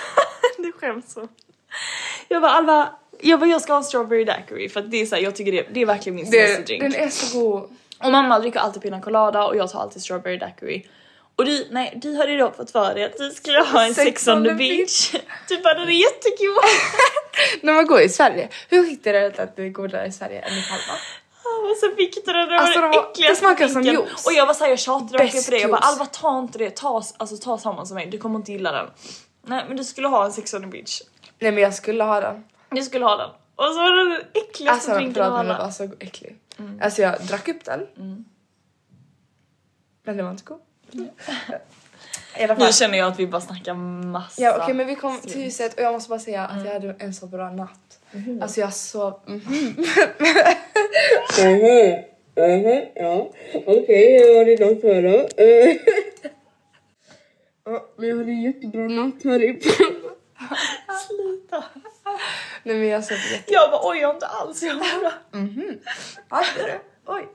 B: (laughs) det skäms så. Jag var Alva, jag bara, jag ska ha en strawberry daiquiri för att det är så här, jag tycker det, det är verkligen min senaste
A: Det,
B: drink.
A: den är så god.
B: Och mamma dricker alltid pina colada och jag tar alltid strawberry daiquiri. Och du, nej, du hade ju då fått för dig att du skulle ha en sex on the beach. Du bara, den är jättegod.
A: (laughs) När man går i Sverige, hur hittar du det att det är godare i Sverige än i Palma?
B: Och så fick du den, det
A: Alltså,
B: var
A: de
B: den
A: var-
B: äckligaste
A: det smakar som
B: drinken.
A: juice.
B: Och jag var såhär, jag tjatade verkligen
A: Bäst
B: på det. Jag bara,
A: juice.
B: Alva ta inte det, ta, alltså, ta samma som mig, du kommer inte gilla den. Nej men du skulle ha en sex on the beach.
A: Nej men jag skulle ha den.
B: Du skulle ha den. Och så var det den äckligaste
A: Alltså
B: drinken av
A: förlåt men den
B: alla.
A: var så äcklig. Alltså jag drack upp den. Men det var inte god. (laughs) I alla fall.
B: Nu känner jag att vi bara snackar massa.
A: Ja, okej men vi kom till huset och jag måste bara säga att jag hade en så bra natt. Alltså jag sov... (laughs) Mhm.
C: Mm-hmm. Okej, jag har idag för då. (laughs) Ja, men jag hade en jättebra natt här i
B: Sluta.
A: Nej men jag sov jätte...
B: Jag bara, oj jag har inte alls, jag bara.
A: Mhm. Hade du?
B: (laughs)
A: Oj.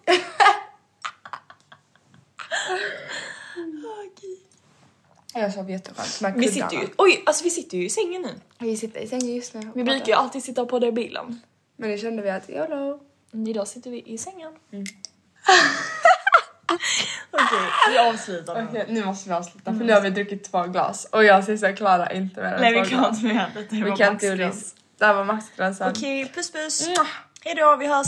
A: Jag sov jätteskönt med
B: Vi sitter ju, oj alltså vi sitter ju i sängen nu.
A: Vi sitter i sängen just nu.
B: Vi brukar ju alltid sitta på det i bilen.
A: Men nu kände vi att YOLO.
B: Men Idag sitter vi i sängen. (laughs) Okej, vi avslutar nu.
A: Okej, nu måste vi avsluta för nu har vi druckit två glas och jag ser så klarar inte mer än
B: Nej
A: två
B: vi kan
A: glas.
B: inte med detta.
A: Vi kan inte göra det. Det här var maxgränsen.
B: Okej, puss puss. Hejdå, vi hörs.